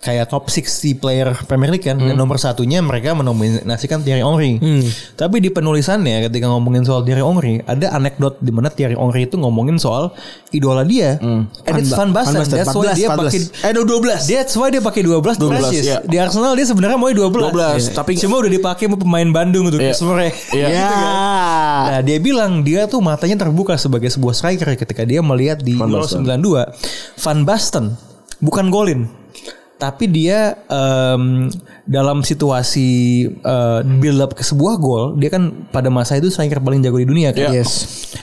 kayak top 60 player Premier League kan dan nomor satunya mereka menominasikan Thierry Henry. Tapi di penulisannya ketika ngomongin soal Thierry Henry ada anekdot di mana Thierry Henry itu ngomongin soal idola dia. And it's Van Basten. Van Basten, That's why 14, dia 14. pakai eh 12. That's why dia pakai 12, 12 iya. Di Arsenal dia sebenarnya mau 12. 12, Iya. tapi- cuma udah dipakai sama pemain Bandung tuh Iya. sore. [LAUGHS] Gitu Iya. Ya. Nah dia bilang dia tuh matanya terbuka sebagai sebuah striker ketika dia melihat di Van Euro Basten. 92 Van Basten bukan golin tapi dia em, dalam situasi eh, build up ke sebuah gol dia kan pada masa itu striker paling jago di dunia kan Iya. yes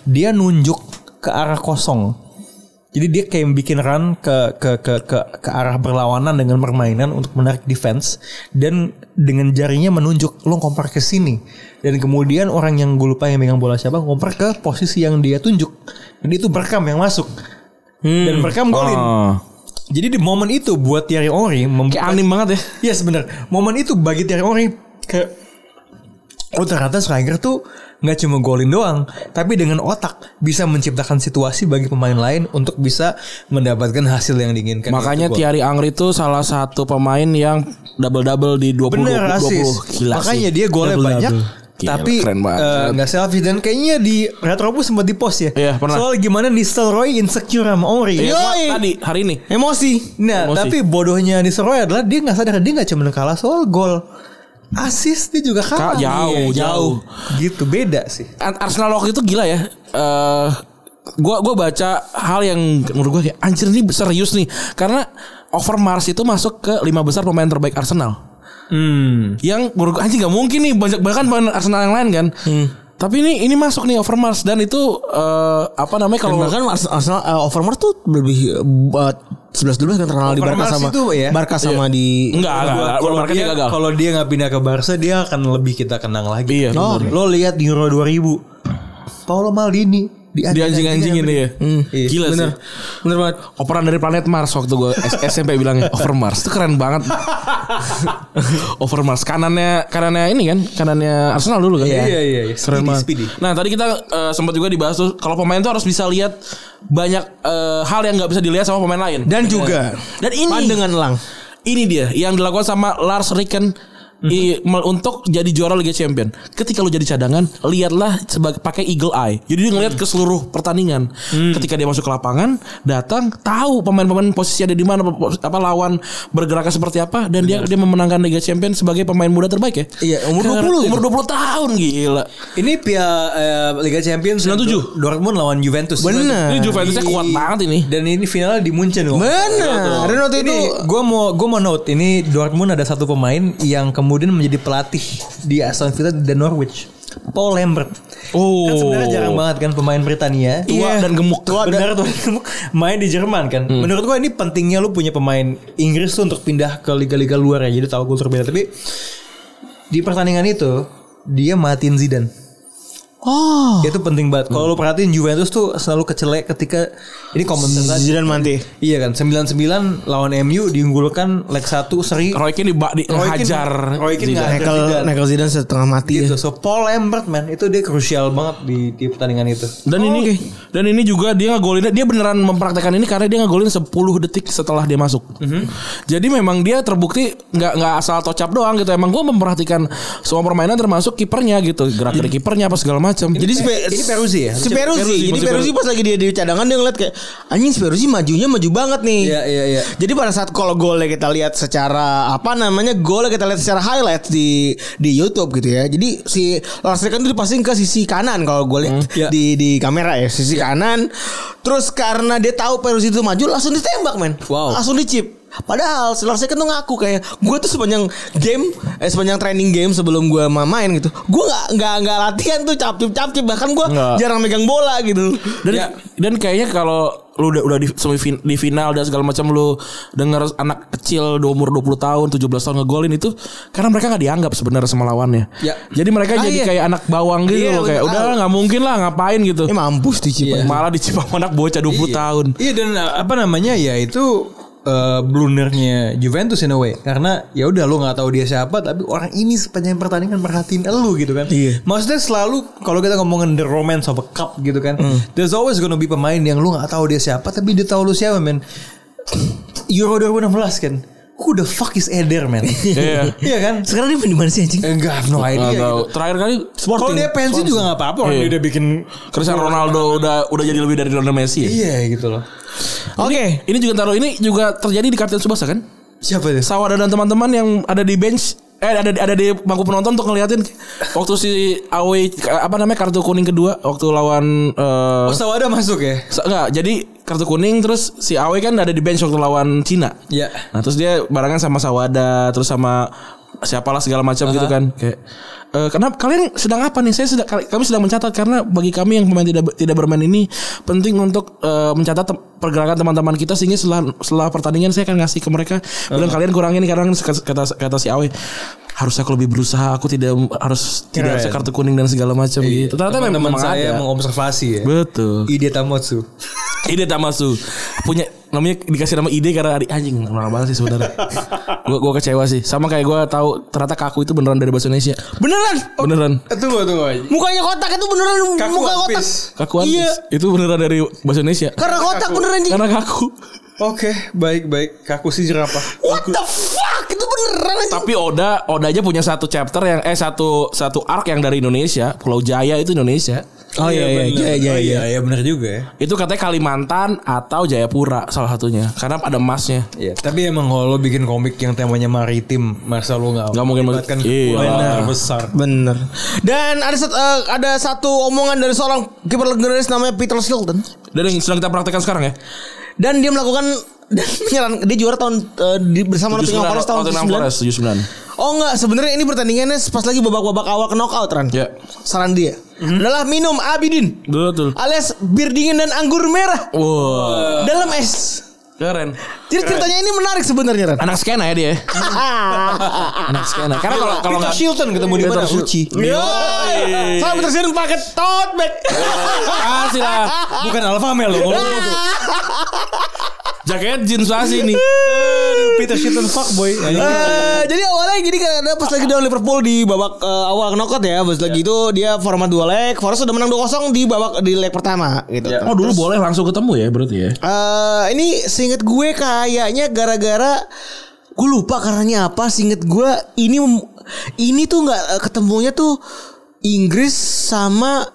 dia nunjuk ke arah kosong Jadi dia kayak bikin run ke ke ke ke ke arah berlawanan dengan permainan untuk menarik defense dan dengan jarinya menunjuk lo kompar ke sini dan kemudian orang yang gue lupa yang megang bola siapa kompar ke posisi yang dia tunjuk dan itu berkam yang masuk dan berkam golin. Oh. Jadi di momen itu buat Thierry Ori Kayak anim banget ya. Iya bener Momen itu bagi Thierry Henry kayak oh ternyata Schreiger tuh nggak cuma golin doang, tapi dengan otak bisa menciptakan situasi bagi pemain lain untuk bisa mendapatkan hasil yang diinginkan. Makanya Itu gua. Thierry Angri itu salah satu pemain yang double double di 20 bener 20, asis. 20. Gila Makanya sih. dia golnya Double-double. banyak. Gila, tapi keren banget. eh, nggak selfish dan kayaknya di Retrobus sempat di post ya. Iya, pernah. Soal gimana Nistelrooy insecure sama Ori. Iya, tadi hari ini. Emosi. Nah, Emosi. tapi bodohnya Nistelrooy adalah dia nggak sadar dia nggak cuma kalah soal gol. Asis dia juga kalah. Ka- Iya, jauh, jauh. Gitu beda sih. Ar- Arsenal waktu itu gila ya. Eh gua gua baca hal yang menurut gua kayak anjir ini serius nih karena Overmars itu masuk ke lima besar pemain terbaik Arsenal. Hmm. Yang menurut gua anjir nggak mungkin nih banyak bahkan pemain Arsenal yang lain kan. Hmm. Tapi ini ini masuk nih Overmars dan itu eh apa namanya Dan kalau bahkan Ars- Arsenal eh, Overmars tuh lebih sebelas dua kan terkenal di Barca Overmars sama itu, ya? Barca sama di enggak enggak, enggak Kalau Overmars dia, dia gagal. kalau dia nggak pindah ke Barca dia akan lebih kita kenang lagi. Iya, Oh, lo lihat di Euro 2000. Paolo Maldini di Dia anjing-anjingin dia. Iya. Gila Bener. sih. Bener banget. Operan dari planet Mars waktu gue [LAUGHS] SMP bilangnya Over Mars. Itu keren banget. [LAUGHS] Over Mars kanannya kanannya ini kan, kanannya Arsenal dulu kan. Iya, iya, iya. Keren Speedy, banget. speedy. Nah, tadi kita eh, sempat juga dibahas tuh kalau pemain tuh harus bisa lihat banyak eh, hal yang nggak bisa dilihat sama pemain lain. Iya. dan juga Dan ini pandangan elang. ini dia yang dilakukan sama Lars Ricken Mhm. i- mel- untuk jadi juara Liga Champion. Ketika lu jadi cadangan, lihatlah sebagai pakai eagle eye. Jadi dia ngelihat ke seluruh pertandingan. Mhm. Ketika dia masuk ke lapangan, datang tahu pemain-pemain posisi ada di mana, po- apa lawan bergeraknya seperti apa dan dia dia memenangkan Liga Champion sebagai pemain muda terbaik ya. Iya, umur Keren. 20. Umur 20 tahun gila. Ini Piala eh, Liga Champions 97. Dortmund lawan Juventus. Bener. Ini Juventusnya kuat banget ini. Dan ini finalnya di Munchen loh. Benar. Dan waktu itu ini gue mau gue mau note ini Dortmund ada satu pemain yang kemudian menjadi pelatih di Aston Villa dan Norwich. Paul Lambert. Oh. Kan sebenarnya jarang banget kan pemain Britania. Iya. Tua dan gemuk. Hmm. Tua dan- benar tuh main di Jerman kan. Menurut gua ini pentingnya lu punya pemain Inggris tuh untuk pindah ke liga-liga luar ya. Jadi tahu kultur beda. Tapi di pertandingan itu dia matiin Zidane. oh Itu penting banget. Kalau lu perhatiin Juventus tuh selalu kecelek ketika ini komentar Zidane manti. Iya kan 99 lawan MU diunggulkan leg 1 seri Roy Keane di, di hajar. Roy Keane nggak hajar Nekel Zidane. Nekel Zidane setengah mati ya. gitu. So Paul Lambert man itu dia krusial banget di di pertandingan itu. Dan Oh, ini dan ini juga dia ngegolinnya dia beneran mempraktekkan ini karena dia ngegolin 10 detik setelah dia masuk. Mhm. Jadi memang dia terbukti nggak nggak asal tocap doang gitu. Emang gue memperhatikan semua permainan termasuk kipernya gitu, gerak gerik kipernya apa segala macam. Jadi Jadi Pe- ini Peruzzi ya? Si Peruzzi. Jadi Peruzzi. Peruzzi pas lagi dia di cadangan dia ngeliat kayak anjing si Peruzzi majunya maju banget nih. Iya, iya, iya. Jadi pada saat kalau golnya kita lihat secara apa namanya golnya kita lihat secara highlight di di YouTube gitu ya. Jadi si Lars Ricken itu dipasing ke sisi kanan kalau gue lihat iya. di di kamera ya sisi kanan. Terus karena dia tahu Peruzzi itu maju langsung ditembak men. Wow. Langsung dicip. Padahal si Lars Ricken tuh ngaku kayak gue tuh sepanjang game eh, sepanjang training game sebelum gue main gitu. Gue nggak nggak nggak latihan tuh capcip capcip bahkan gue Nggak. jarang megang bola gitu. dan dan kayaknya kalau lu udah udah di, semifin- di final dan segala macam lu denger anak kecil di umur 20 tahun, 17 tahun ngegolin itu karena mereka nggak dianggap sebenarnya sama lawannya. Ya. Jadi mereka Ah, jadi iya. kayak anak bawang gitu Iya, loh kayak bener. udah lah, nggak mungkin lah ngapain gitu. Ini mampus dicip. aja. Malah dicipam anak bocah 20 tahun. Iya dan uh, apa namanya ya itu uh, blundernya Juventus in a way karena ya udah lu nggak tahu dia siapa tapi orang ini sepanjang pertandingan merhatiin elu gitu kan. Iya. Maksudnya selalu kalau kita ngomongin the romance of a cup gitu kan. Hmm. There's always gonna be pemain yang lu nggak tahu dia siapa tapi dia tahu lu siapa men. Euro 2016 kan. Who the fuck is Eder [LAUGHS] man? Iya. Iya kan? Sekarang dia main di mana sih anjing? Enggak, I have no idea. Nggak tahu. Gitu. Terakhir kali Kalau Sporting. dia pensi juga nggak apa-apa, orang Iya. dia udah bikin Cristiano Ronaldo udah udah jadi lebih dari Lionel Messi. Ya? iya gitu loh. Oke. Ini juga taruh ini juga terjadi di Kapten Subasa kan? Siapa itu? Sawada dan teman-teman yang ada di bench eh ada ada di bangku penonton untuk ngeliatin waktu si Awe apa namanya kartu kuning kedua waktu lawan eh Oh, Sawada masuk ya? sa- enggak jadi kartu kuning terus si Ya. Awe kan ada di bench waktu lawan Cina. Iya. Nah terus dia barengan sama Sawada terus sama siapalah segala macam gitu kan kayak eh, kenapa kalian sedang apa nih saya sedang kali- kami sedang mencatat karena bagi kami yang pemain tidak tidak bermain ini penting untuk eh, mencatat tem- pergerakan teman-teman kita sehingga setelah setelah pertandingan saya akan ngasih ke mereka bilang kalian kurangin karena kata kata si Awe harus aku lebih berusaha aku tidak harus tidak harus kartu kuning dan segala Iya. macam Iya, gitu ternyata Teman memang saya ada. mengobservasi ya. betul Ide Tamotsu. Ide Tamasu punya namanya dikasih nama ide karena adik anjing normal banget sih sebenarnya. gua gua kecewa sih. Sama kayak gua tahu ternyata kaku itu beneran dari bahasa Indonesia. Beneran? Beneran. Tunggu tunggu. Mukanya kotak itu beneran Kaku muka kotak. habis. Kakuan. Itu beneran dari bahasa Indonesia. Karena kotak beneran Ji. Karena kaku. Oke, baik baik. Kaku si jerapah. What the fuck? Itu beneran anjing. Tapi Oda Oda aja punya satu chapter yang eh satu satu arc yang dari Indonesia. Pulau Jaya itu Indonesia. Oh iya iya iya iya iya, benar juga ya. Itu katanya Kalimantan atau Jayapura salah satunya. Karena ada emasnya. Iya, tapi emang kalau lo bikin komik yang temanya maritim, masa lo nggak Nggak mungkin melibatkan masuk- iya. kepulauan terbesar. Bener. Dan ada sat- eh, ada satu omongan dari seorang kiper legendaris namanya Peter Shilton. Dan yang sedang kita praktekkan sekarang ya. Dan dia melakukan dan [LAUGHS] menyaran dia juara tahun eh, di- bersama Nottingham Forest tahun 79. 79. 79. Oh enggak, sebenarnya ini pertandingannya pas lagi babak-babak awal knockout Ran. Ya. Saran dia adalah minum Abidin Betul. alias bir dingin dan anggur merah Wah, dalam es. keren. Jadi ceritanya ini menarik sebenarnya Ran. Anak skena ya dia. Anak skena. Karena kalau kalau nggak Shilton ketemu di mana? Suci. Yoi. Sampai tersirin pakai tote bag. kasih lah. Bukan Alfa Mel lo. Jaketnya jeans asli nih. Peter Shilton fuckboy. Eh, jadi awalnya gini kan ada pas lagi down Liverpool di babak eh, awal knockout ya. Pas lagi itu dia format dua leg, Forest udah menang 2-0 di babak di leg pertama gitu. Oh dulu boleh langsung ketemu ya berarti ya. Eh, ini seinget gue kayaknya gara-gara gue lupa karenanya apa seinget gue ini mem- ini tuh nggak eh, ketemunya tuh Inggris sama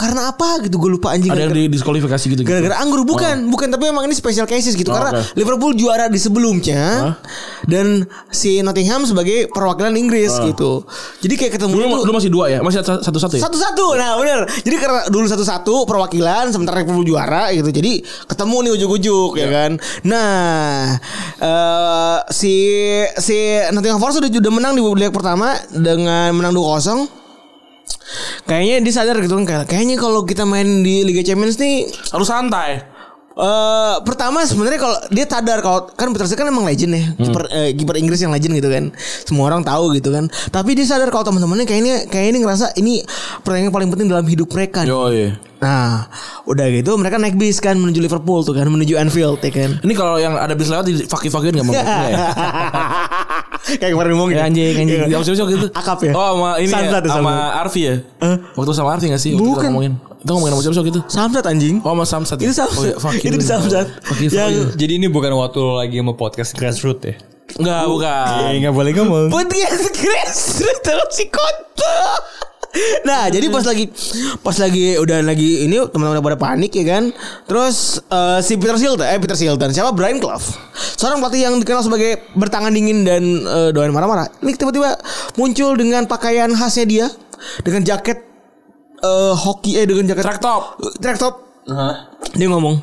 karena apa gitu gue lupa anjing Ada yang gara-gara- di diskualifikasi gitu. gara-gara anggur bukan bukan tapi emang ini special cases gitu Oh, karena oke. Liverpool juara di sebelumnya dan si Nottingham sebagai perwakilan Inggris gitu jadi kayak ketemu Dulu, tuh- dulu masih dua ya, masih satu-satu ya. satu-satu nah benar jadi karena dulu satu-satu perwakilan sementara Liverpool juara gitu jadi ketemu nih ujuk-ujuk Iya. ya kan nah eh si si Nottingham Forest udah udah menang di leg pertama dengan menang 2-0 Kayaknya dia sadar gitu kan kayak- Kayaknya kalau kita main di Liga Champions nih Harus santai. eh pertama sebenarnya kalau dia sadar kalau kan Peter Shilton kan emang legend ya Hmm. kiper eh, kiper Inggris yang legend gitu kan semua orang tahu gitu kan tapi dia sadar kalau teman-temannya kayaknya kayaknya ini ngerasa ini pertandingan paling penting dalam hidup mereka Yo iya. nah udah gitu mereka naik bis kan menuju Liverpool tuh kan menuju Anfield ya kan Ini kalau yang ada bis lewat di fakir fakirin nggak mau ya. [LAUGHS] kayak kemarin ngomong gitu. Ya, anjing anjing. Yang siapa gitu. Iya, Akap ya? Oh sama ini ya, Sunset ya, sama Arfi ya. Waktu sama Arfi nggak sih? Waktu kita Eh? Bukan. Ngomongin. Itu ngomongin sama siapa gitu. Samsat anjing Oh sama Samsat. ya? Itu Samsat. Oh, iya, fakir. Itu di Samsat. Ya, Fakir Yang- fakir. Jadi ini bukan waktu lo lagi sama podcast grassroots ya? Enggak, bukan. Iya. Iya, nggak boleh ngomong. [LAUGHS] Podcast Grace terus si kota. Nah, jadi pas lagi pas lagi udah lagi ini teman-teman udah pada panik ya kan. Terus eh, si Peter Shilton, eh Peter Shilton, siapa Brian Clough. Seorang pelatih yang dikenal sebagai bertangan dingin dan eh, doain marah-marah. Ini tiba-tiba muncul dengan pakaian khasnya dia dengan jaket eh, hoki eh dengan jaket Track top. Eh, track top. Dia ngomong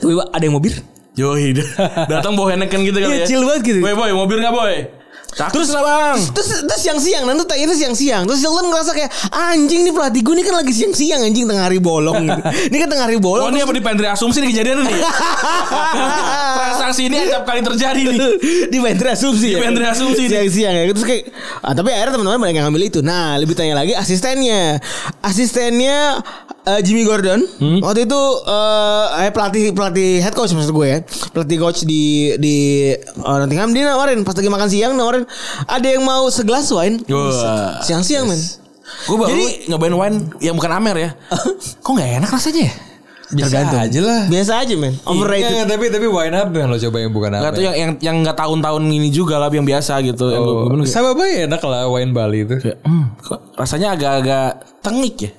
Tiba-tiba ada yang mau bir? Yoi [LAUGHS] Datang bawa Heineken gitu kali Iya, ya chill banget gitu. Boy boy mobil gak boy Terus lah bang Terus terus siang-siang nanti tanya terus siang-siang. Terus Sheldon ngerasa kayak anjing nih pelatih gue ini kan lagi siang-siang anjing tengah hari bolong [LAUGHS] gitu. ini kan tengah hari Oh bolong. ini apa di Pentri Asumsi nih kejadian nih Transaksi ini setiap kali terjadi [LAUGHS] nih [LAUGHS] di Bentri Di Asumsi Bentri Asumsi nih. siang-siang ya terus kayak ah, tapi akhirnya teman-teman banyak yang ngambil itu nah lebih tanya lagi asistennya asistennya eh, Jimmy Gordon Hmm? waktu itu eh eh, pelatih pelatih head coach maksud gue ya pelatih coach di di eh, Nottingham dia nawarin pas lagi makan siang nawarin ada yang mau segelas wine Wah. siang-siang men Gue baru Jadi- nyobain wine yang bukan Amer ya Kok gak enak rasanya ya Tergantung aja lah. biasa aja men Nggak, overrated Iya, nggak, tapi tapi wine up yang lo coba yang bukan apa? ya? Gak tuh yang yang yang gak tahun-tahun ini juga lah yang biasa gitu. Yang gua- gua bilang kayak, Sama apa ya enak lah wine Bali itu. hmm, kok rasanya agak-agak tengik ya.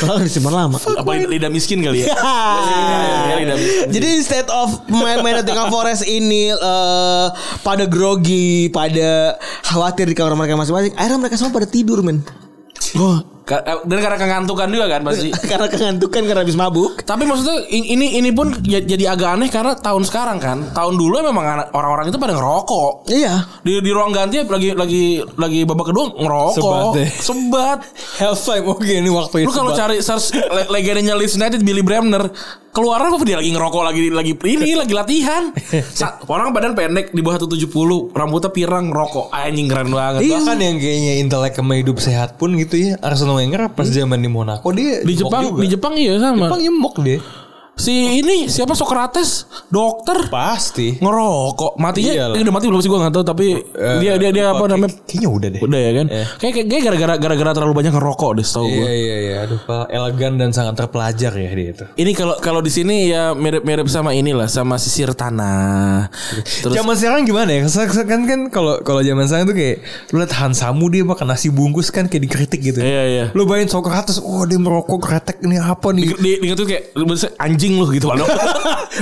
Kalau disimpan lama. [LAUGHS] Apa lidah miskin kali ya? Iya, lidah miskin. Jadi instead of main-main Nottingham Forest ini eh, pada grogi, pada khawatir di kamar mereka masing-masing, akhirnya mereka semua pada tidur men. Wah, Ka- eh, Dan karena kegantukan juga kan [LAUGHS] pasti. karena kengantukan karena habis mabuk. Tapi maksudnya in- ini ini pun ya- jadi agak aneh karena tahun sekarang kan. Tahun dulu memang anak- orang-orang itu pada ngerokok. Iya. Di di ruang ganti lagi lagi lagi babak kedua Sebat ngerokok. deh. Sebat. Halftime oke ini waktu itu. Lu kalau cari search le- legendanya Leeds United Billy Bremner keluar apa dia lagi ngerokok lagi lagi ini lagi latihan. Sa- orang badan pendek di bawah 170, rambutnya pirang ngerokok. Anjing keren banget. bahkan yang kayaknya intelek sama hidup sehat pun gitu ya Arsenal Wenger pas zaman di Monaco dia Di nyemok Jepang, juga. di Jepang iya sama. Jepang nyemok dia Si ini siapa Socrates, dokter pasti ngerokok matinya Iyalah. eh, udah mati belum sih gua nggak tahu tapi dia dia dia apa namanya kayaknya udah deh udah ya kan kayak kayak- kayak gara-gara gara-gara terlalu banyak ngerokok deh setahu gua iya iya iya aduh Pak, elegan dan sangat terpelajar ya dia itu ini kalau kalau di sini ya mirip-mirip sama inilah sama sisir tanah terus zaman sekarang gimana ya? Kesan- kesan- Kan kan kalau kalau zaman sekarang tuh kayak lu liat Hansamu dia makan nasi bungkus kan kayak dikritik gitu. Iya, iya. Lu bayangin Socrates, oh dia merokok kretek ini apa nih? di, di, di- kayak anjing lu gitu Waldo.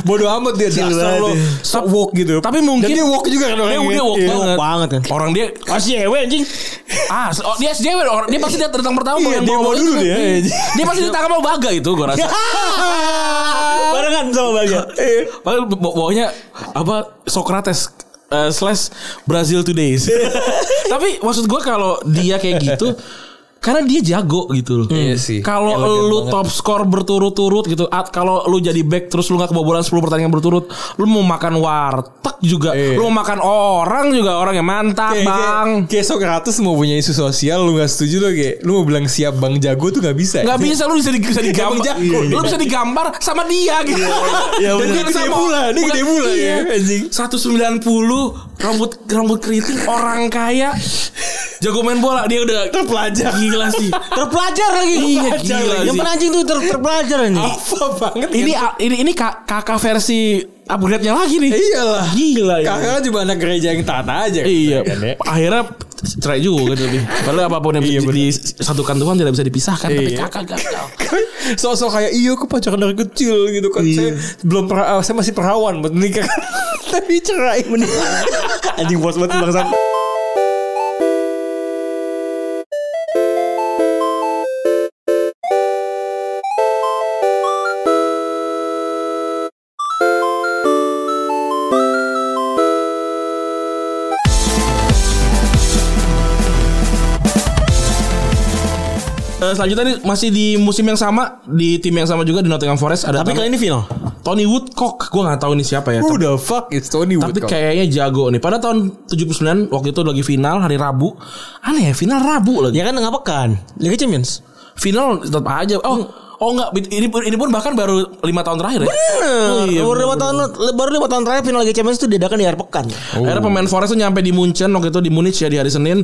Bodoh amat dia dasar lu. lu. Stop walk gitu. Tapi Dan mungkin dia walk juga kan Dia orangnya. udah walk Iya. banget. banget kan. Orang dia SJW anjing. ah se- oh, dia SJW orang dia pasti datang pertama Iya, pengen dia bawa- mau dulu dia. Dia pasti ditangkap sama Baga itu gua [LAUGHS] rasa. Barengan sama ya? Baga. Eh, Padahal baw- bawahnya apa Socrates eh, slash Brazil [LAUGHS] Today's. Tapi maksud gue kalau dia kayak gitu karena dia jago gitu loh. Iya sih. Kalau Elegan lu banget. top skor berturut-turut gitu, at- kalau lu jadi back terus lu nggak kebobolan 10 pertandingan berturut, lu mau makan warteg juga, Iya. lu mau makan orang juga orang yang mantap, Kayak- kayak- Bang. Kayak Socrates mau punya isu sosial lu gak setuju lu kayak lu mau bilang siap Bang Jago tuh gak bisa. ya? Gak bisa lu bisa di- bisa digambar, Emang jago. lu bisa digambar sama dia gitu. Iya, [LAUGHS] Dan bener. dia Gede sama- pula, dia bukan- gede pula iya. ya, anjing. [LAUGHS] 190 rambut rambut keriting orang kaya jago main bola dia udah terpelajar gila sih Terpelajar lagi. Iya, Terpelajar gila lagi. Yang sih. pernah anjing tuh ter terpelajar anjing. Apa banget ini ini ini ka- kakak versi upgrade nya lagi nih Iyalah. gila ya Kakak kan cuma anak gereja yang taat aja. iya Kan, ya. akhirnya cerai juga gitu nih padahal apapun yang disatukan Tuhan tidak bisa dipisahkan tapi kakak gagal [LAUGHS] Sosok kayak iya aku pacaran dari kecil gitu kan Iya. saya belum pernah ah, saya masih perawan buat nikah [LAUGHS] tapi cerai menikah Anjing bos banget bangsa. Eh, selanjutnya nih, masih di musim yang sama di tim yang sama juga di Nottingham Forest ada Tapi Tom- kali ini final. Tony Woodcock gue nggak tahu ini siapa ya who the fuck is Tony Tapi Woodcock kayaknya jago nih. Pada tahun 79 waktu itu lagi final hari Rabu. Aneh ya final Rabu lagi. Ya kan tengah pekan. Liga Champions. Final tetap aja. Oh, Hmm. oh enggak ini pun ini pun bahkan baru lima tahun terakhir ya. Oh, iya, Eh, baru lima bener. tahun baru lima tahun terakhir final Liga Champions itu diadakan di akhir pekan. Oh. Akhirnya pemain Forest tuh nyampe di Munchen waktu itu di Munich ya di hari Senin.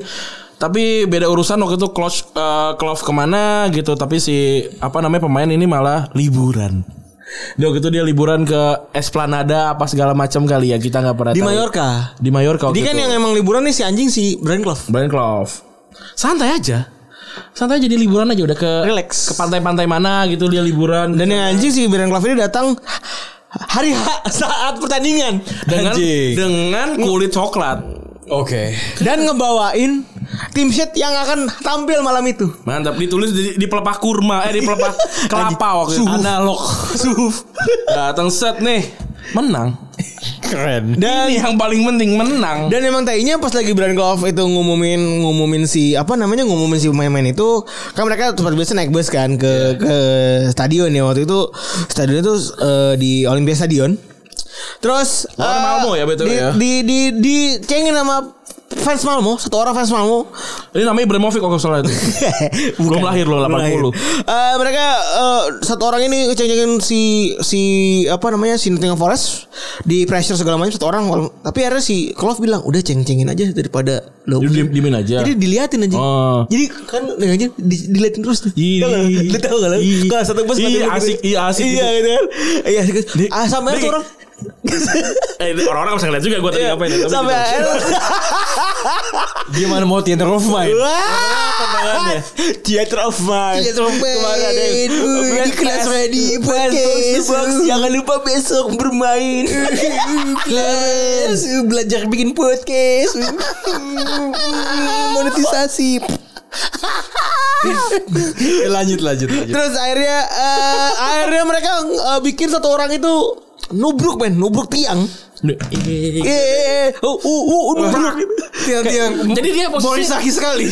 Tapi beda urusan waktu itu Klopp eh, Klopp kemana gitu. Tapi si apa namanya pemain ini malah liburan. Dia waktu itu dia liburan ke Esplanada apa segala macam kali ya kita nggak pernah Di tahu. Oh, gitu. Mallorca. Di Mallorca. waktu Jadi kan itu. yang emang liburan nih si anjing si Brian Clough. Brian Clough. Santai aja. Santai aja dia liburan aja udah ke Relax. ke pantai-pantai mana gitu dia liburan Dan yang anjing si Brian Clough ini datang hari H [LAUGHS] saat pertandingan dengan Anjing. dengan kulit coklat. oke dan ngebawain tim sheet yang akan tampil malam itu. Mantap ditulis di, di pelepah kurma eh di [LAUGHS] pelepah kelapa waktu itu. Analog. Suhuf. Datang set nih. Menang. keren Dan Ini yang paling penting menang. dan emang tainya pas lagi Brian Clough itu ngumumin ngumumin si apa namanya ngumumin si pemain-pemain itu kan mereka seperti biasa naik bus kan Iya. ke ke stadion ya waktu itu stadion itu eh, di Olympia Stadion. Terus Lawan eh, Malmo ya, betul di, ya. di di di cengin sama fans Malmo, satu orang fans Malmo Ini namanya Ibrahimovic kalau nggak salah [LAUGHS] itu. Belum lahir loh 80. Eh, mereka eh, satu orang ini ngeceng-cengin si si apa namanya si Nottingham Forest di pressure segala macam satu orang tapi akhirnya si Klopp bilang udah ceng-cengin aja daripada lo Jadi diem- diemin aja. jadi diliatin aja Oh. jadi kan aja di- diliatin terus tuh Ih. Tau nggak? Lu tau gak lo Ih. kalau satu bus Ih, ngeliatin gitu. asik, iya, asik iya gitu. gitu kan ya. iya asik ah sampai Dia- tuh orang Eh orang-orang bisa ngeliat juga gue tadi ngapain. ya, tapi sampai gitu. akhirnya gimana mau theater of mind Kan Wah, ya? Theater of Mind. Theater of Mind. Kemarin ada yang- Uh, di kelas ready Fans podcast. Box, [LAUGHS] jangan lupa besok [LAUGHS] bermain. Kelas uh, belajar bikin podcast. Uh, Monetisasi. Ya, lanjut lanjut lanjut. Terus akhirnya eh, akhirnya mereka eh, bikin satu orang itu nubruk men, nubruk tiang. Iya. Eh, uh, uh, uh, nubruk. Tiang-tiang. Jadi dia posisi Sakit sekali.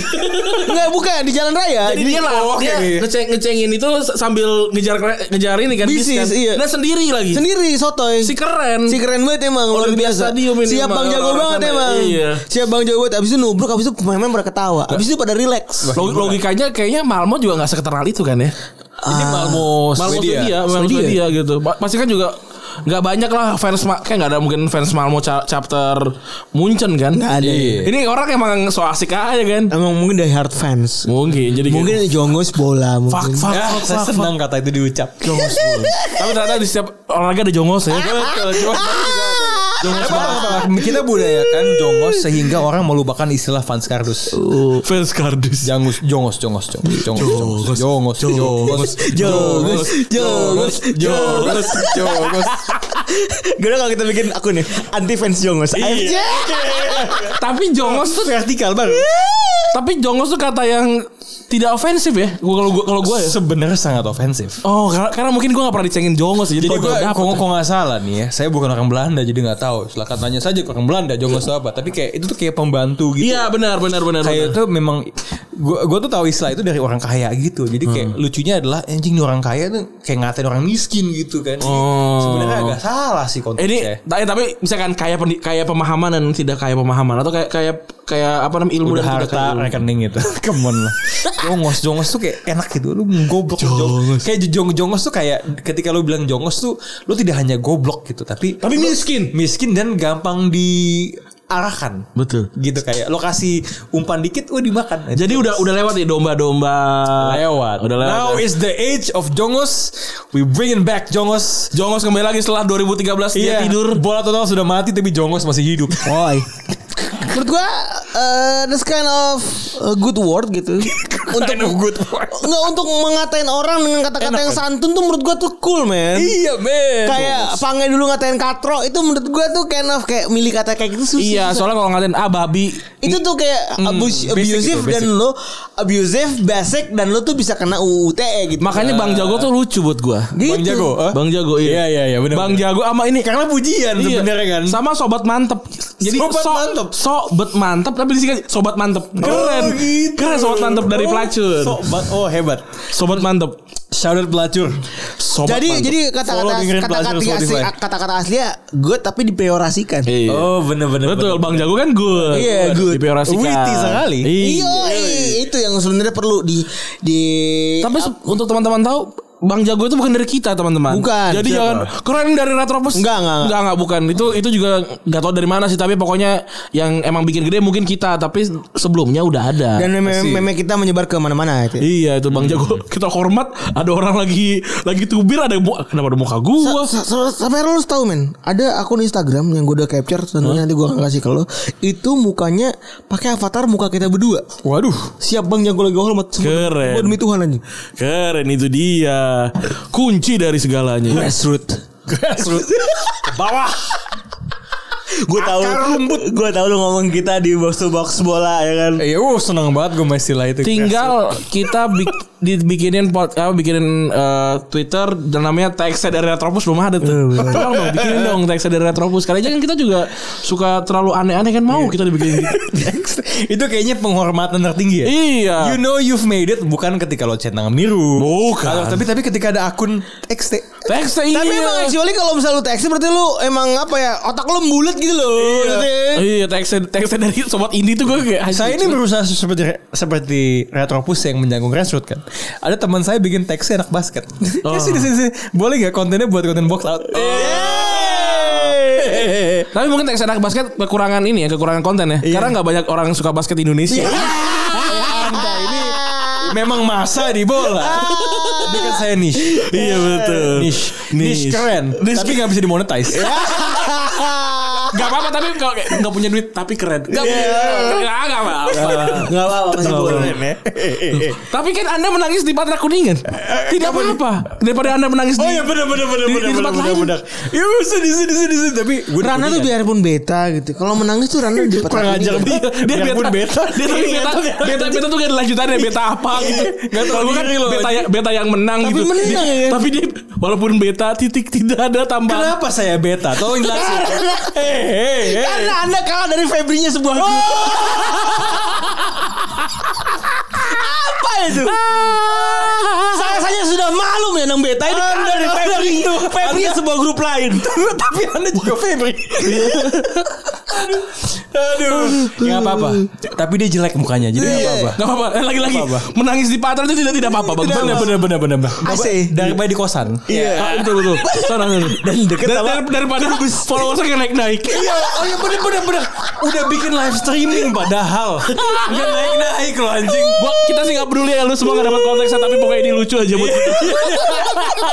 Enggak bukan di jalan raya. Oh, jadi dia lah dia iya. ngeceng ngecengin itu sambil ngejar ngejar ini kan bis Bisnis, kan. iya. Nah sendiri lagi. sendiri sotoy. Si keren. Si keren banget emang luar Olympic biasa. Stadium ini Siap emang, bang jago orang-orang banget sana. emang. Iya. Siap bang jago banget. Abis itu nubruk, abis itu pemain-pemain pada ketawa. Abis itu pada relax. Log- logikanya kayaknya Malmo juga nggak seketeral itu kan ya. Ini Ah, Malmo Malmo Swedia, Swedia. Malmo Swedia, gitu. Pa- Pasti kan juga nggak banyak lah fans Ma- kayak nggak ada mungkin fans Malmo cha- chapter Munchen kan. ada. iya. Ini orang emang so asik aja kan. Emang mungkin dari hard fans. Mungkin jadi gitu. Mungkin jongos bola fuck mungkin. fuck Ya, fuck, saya fuck, fuck. senang kata itu [LAUGHS] diucap. Tapi ternyata di setiap olahraga ada jongos ya. Betul. Jongos banget. Kita budayakan jongos sehingga orang melupakan istilah fans kardus. Uh, Fans kardus. Jangos, jongos, jongos, jongos, jongos, jongos, jongos, jongos, jongos, jongos, jongos, jongos. Gimana kalau kita bikin akun ya, nih anti fans Iya. jongos. AFJ. Tapi jongos tuh Vertikal banget. Iya. tapi jongos tuh kata yang tidak ofensif ya. Gua kalau gua kalau gua ya. Sebenarnya sangat ofensif. Oh, karena, karena mungkin gua gak pernah dicengin jongos ya, Jadi gua gue nggak dapet. kok kok nggak salah nih ya, saya bukan orang Belanda jadi nggak tahu. Silakan tanya saja ke orang Belanda jongos itu apa. Tapi kayak itu tuh kayak pembantu gitu. Iya benar benar benar. kayak itu memang gua gua tuh tahu istilah itu dari orang kaya gitu jadi kayak lucunya adalah anjing nih orang kaya tuh kayak ngatain orang miskin gitu kan Jadi sebenarnya agak salah sih Eh, Ini konteksnya tapi, tapi misalkan kayak pendi- kayak pemahaman dan tidak kayak pemahaman atau kayak kayak kayak apa namanya ilmu udah dan tidak harta kayak ilmu. rekening gitu Come on lah Jongos Jongos tuh kayak enak gitu Lu goblok jongos. Kayak jong jongos tuh kayak Ketika lu bilang jongos tuh Lu tidak hanya goblok gitu Tapi Tapi miskin Miskin dan gampang diarahkan Betul. Gitu kayak Lu kasih umpan dikit Udah dimakan Jadi udah udah lewat nih domba-domba. lewat. Udah lewat. Now ya. is the age of Jongos. We bringing back Jongos. Jongos kembali lagi setelah 2013 dia Iya, tidur. Bola total sudah mati tapi Jongos masih hidup. Oi. Menurut gua eh, this kind of eh, good word [LAUGHS] gitu. untuk good word. Enggak untuk mengatain orang dengan kata-kata kan? yang santun tuh menurut gua tuh cool, man. iya, men. Kayak pange dulu ngatain katro itu menurut gua tuh kind of kayak milih kata kayak gitu susah. Iya, Hmm, soalnya kalau ngatain ah babi itu tuh kayak basic abus- itu, abusive basic. dan lo abusive basic dan lo tuh bisa kena UU TE gitu. Makanya Bang Jago tuh lucu buat gua. Iya. Gitu. Bang Jago, eh? Bang Jago iya. Iya, iya, iya, benar, Bang benar. Jago sama ini Karena pujian Iya. sebenarnya kan. Sama sobat mantep. Jadi Sobat Mantep. Sobat mantep tapi disingkat sobat mantep. Keren. [LAUGHS] Oh, gitu. Keren sobat mantep dari pelacur. So- ba- oh hebat. sobat mantep. Shout out pelacur. Sobat jadi mantep. jadi kata-kata Follow Pinggir kata-kata Pelajar asli Spotify. kata-kata aslinya good tapi dipeorasikan. Iya. Oh bener-bener. Betul, Bang Jago kan good. Iya, good. Dipiorasikan. Witty sekali. Iya, Iya. itu yang sebenarnya perlu di di Iya. Tapi se- untuk teman-teman tahu Bang Jago itu bukan dari kita teman-teman. Bukan. Jadi Siapa? jangan keren dari Retropus. Enggak, enggak, enggak. enggak. Enggak, bukan. Itu itu juga nggak tahu dari mana sih. Tapi pokoknya yang emang bikin gede mungkin kita. Tapi sebelumnya udah ada. dan Hmm. meme, meme kita menyebar ke mana-mana itu. Iya itu Bang Jago. Kita hormat. Ada orang lagi lagi tubir. Ada mu- kenapa ada muka gua? Sa- sa- Sampai lu harus tahu men, ada akun Instagram yang gue udah capture tentunya nanti gue akan kasih ke lo. Itu mukanya pakai avatar muka kita berdua. Waduh. Siap bang jago lagi hormat. Sumpah, Keren. gua demi Tuhan anjing. Keren itu dia. Kunci dari segalanya. [LAUGHS] Grassroot. Bawah. Gue tahu. Gue tahu lu ngomong kita di box to box bola ya kan. Iya, uh, seneng banget gue masih lah itu. Tinggal kita bik- dibikinin pod, apa bikinin eh, Twitter dan namanya tagset dari Retropus Oh, belum ada tuh. Tolong dong [LAUGHS] bikinin dong tagset dari Retropus. Karena jangan kita juga suka terlalu aneh-aneh kan mau kita dibikinin. gitu. itu kayaknya penghormatan tertinggi ya. [LAUGHS] iya. You know you've made it bukan ketika lo centang biru. Bukan. Atau- tapi tapi ketika ada akun XT Tagset iya. Tapi emang actually kalau misalnya lu teksi berarti lu emang apa ya otak lu bulat gitu loh. Berarti. Iya, tagset tagset dari sobat indie tuh gue kayak Saya ini berusaha seperti seperti Retropus yang menjangkung grassroots kan. Ada teman saya bikin teks anak basket. Ya Oh. [LAUGHS] sini, sini, sini. Boleh gak kontennya buat konten box out? Tapi mungkin teks anak basket kekurangan ini ya, kekurangan konten ya. Iya. Karena nggak banyak orang suka basket di Indonesia. Anda ini memang masa di bola. Tapi kan saya niche. iya betul. Niche. Niche, keren. Tapi gak bisa dimonetize. Gak apa-apa tapi kalau kayak gak punya duit tapi keren. Gak Iya. punya. Gak, gak apa-apa. Enggak apa-apa masih boleh. Tapi kan Anda menangis di Patra Kuningan. Eh, Tidak apa-apa. Daripada Anda menangis Oh di ya iya, benar benar benar Di- di benar tempat benar benar lain. benar. Iya sedih sedih sedih sedih tapi gue Rana tuh biarpun beta gitu. Kalau menangis tuh Rana gitu. di kurang ajar [LAUGHS] dia. dia beta, pun beta. Dia tapi beta, beta, beta tuh gak ada lanjutannya beta apa gitu. Gak tahu kan beta, yang- beta yang menang gitu. menang, Dia- ya. Tapi dia walaupun beta titik tidak ada tambahan. Kenapa saya beta? Tolong [LAUGHS] jelasin. Karena Anda kalah dari Febrinya sebuah grup. Apa itu? Ah, Saya saja sudah malu menang beta ini kalah dari Febri. Febri sebuah grup [LAUGHS] lain. Tapi anda juga [LAUGHS] Febri. Aduh. Gak apa-apa. Tapi dia jelek mukanya. Jadi gak apa-apa. Gak apa-apa. Eh, Lagi-lagi Gak apa-apa. menangis di Patra itu tidak tidak apa-apa. Bagus. Bener bener bener bener bener. AC. Daripada di kosan. Iya, betul betul. Sana [LAUGHS] sana. Dan deket sama- daripada followersnya naik naik. Iya, oh iya bener bener bener. Udah bikin live streaming padahal. Gak naik naik loh anjing. Gua kita sih gak peduli ya lu semua gak dapat konteksnya tapi pokoknya ini lucu aja Iya. buat kita.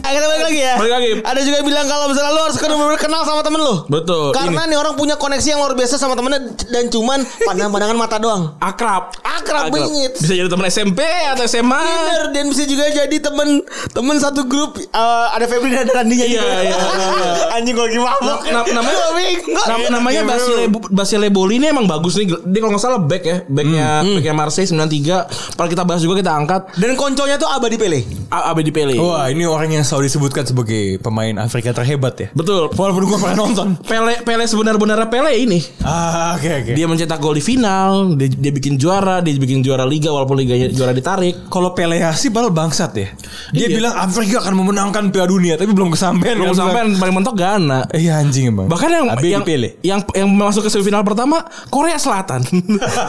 Ah, Kita balik lagi ya. Balik lagi. Ada juga yang bilang kalau misalnya lu harus benar-benar kenal sama temen lu. Betul. Karena nih orang punya koneksi yang luar biasa sama temennya dan cuman pandangan-pandangan mata doang. akrab. Akrab banget. Bisa jadi teman SMP atau SMA. Bener dan bisa juga jadi temen temen satu grup eh, ada Febri dan ada Randinya Iya, iya, iya. [LAUGHS] Anjing gua lagi mabok. Na- na- namanya- Gua bingung. Nam- namanya Basile Basile Boli ini emang bagus nih. Dia kalau nggak salah back ya, backnya backnya Marseille 93. Kalau kita bahas juga kita angkat dan konconya tuh Abadi Pele. A- Abedi Pele. Wah ini orang yang selalu disebutkan sebagai pemain Afrika terhebat ya. Betul. Walaupun gue pernah nonton. Pele Pele sebenar-benarnya Pele ini. Ah oke oke. Dia mencetak gol di final, dia, dia bikin juara, dia bikin juara liga walaupun liganya juara ditarik. Kalau Peleasi padahal bangsat ya. Dia Iya. bilang Afrika akan memenangkan Piala Dunia tapi belum kesampaian. Belum kan? sampai paling mentok Ghana. Iya anjing emang. Bahkan yang Abe yang, dipilih. yang yang masuk ke semifinal pertama Korea [LAUGHS] Selatan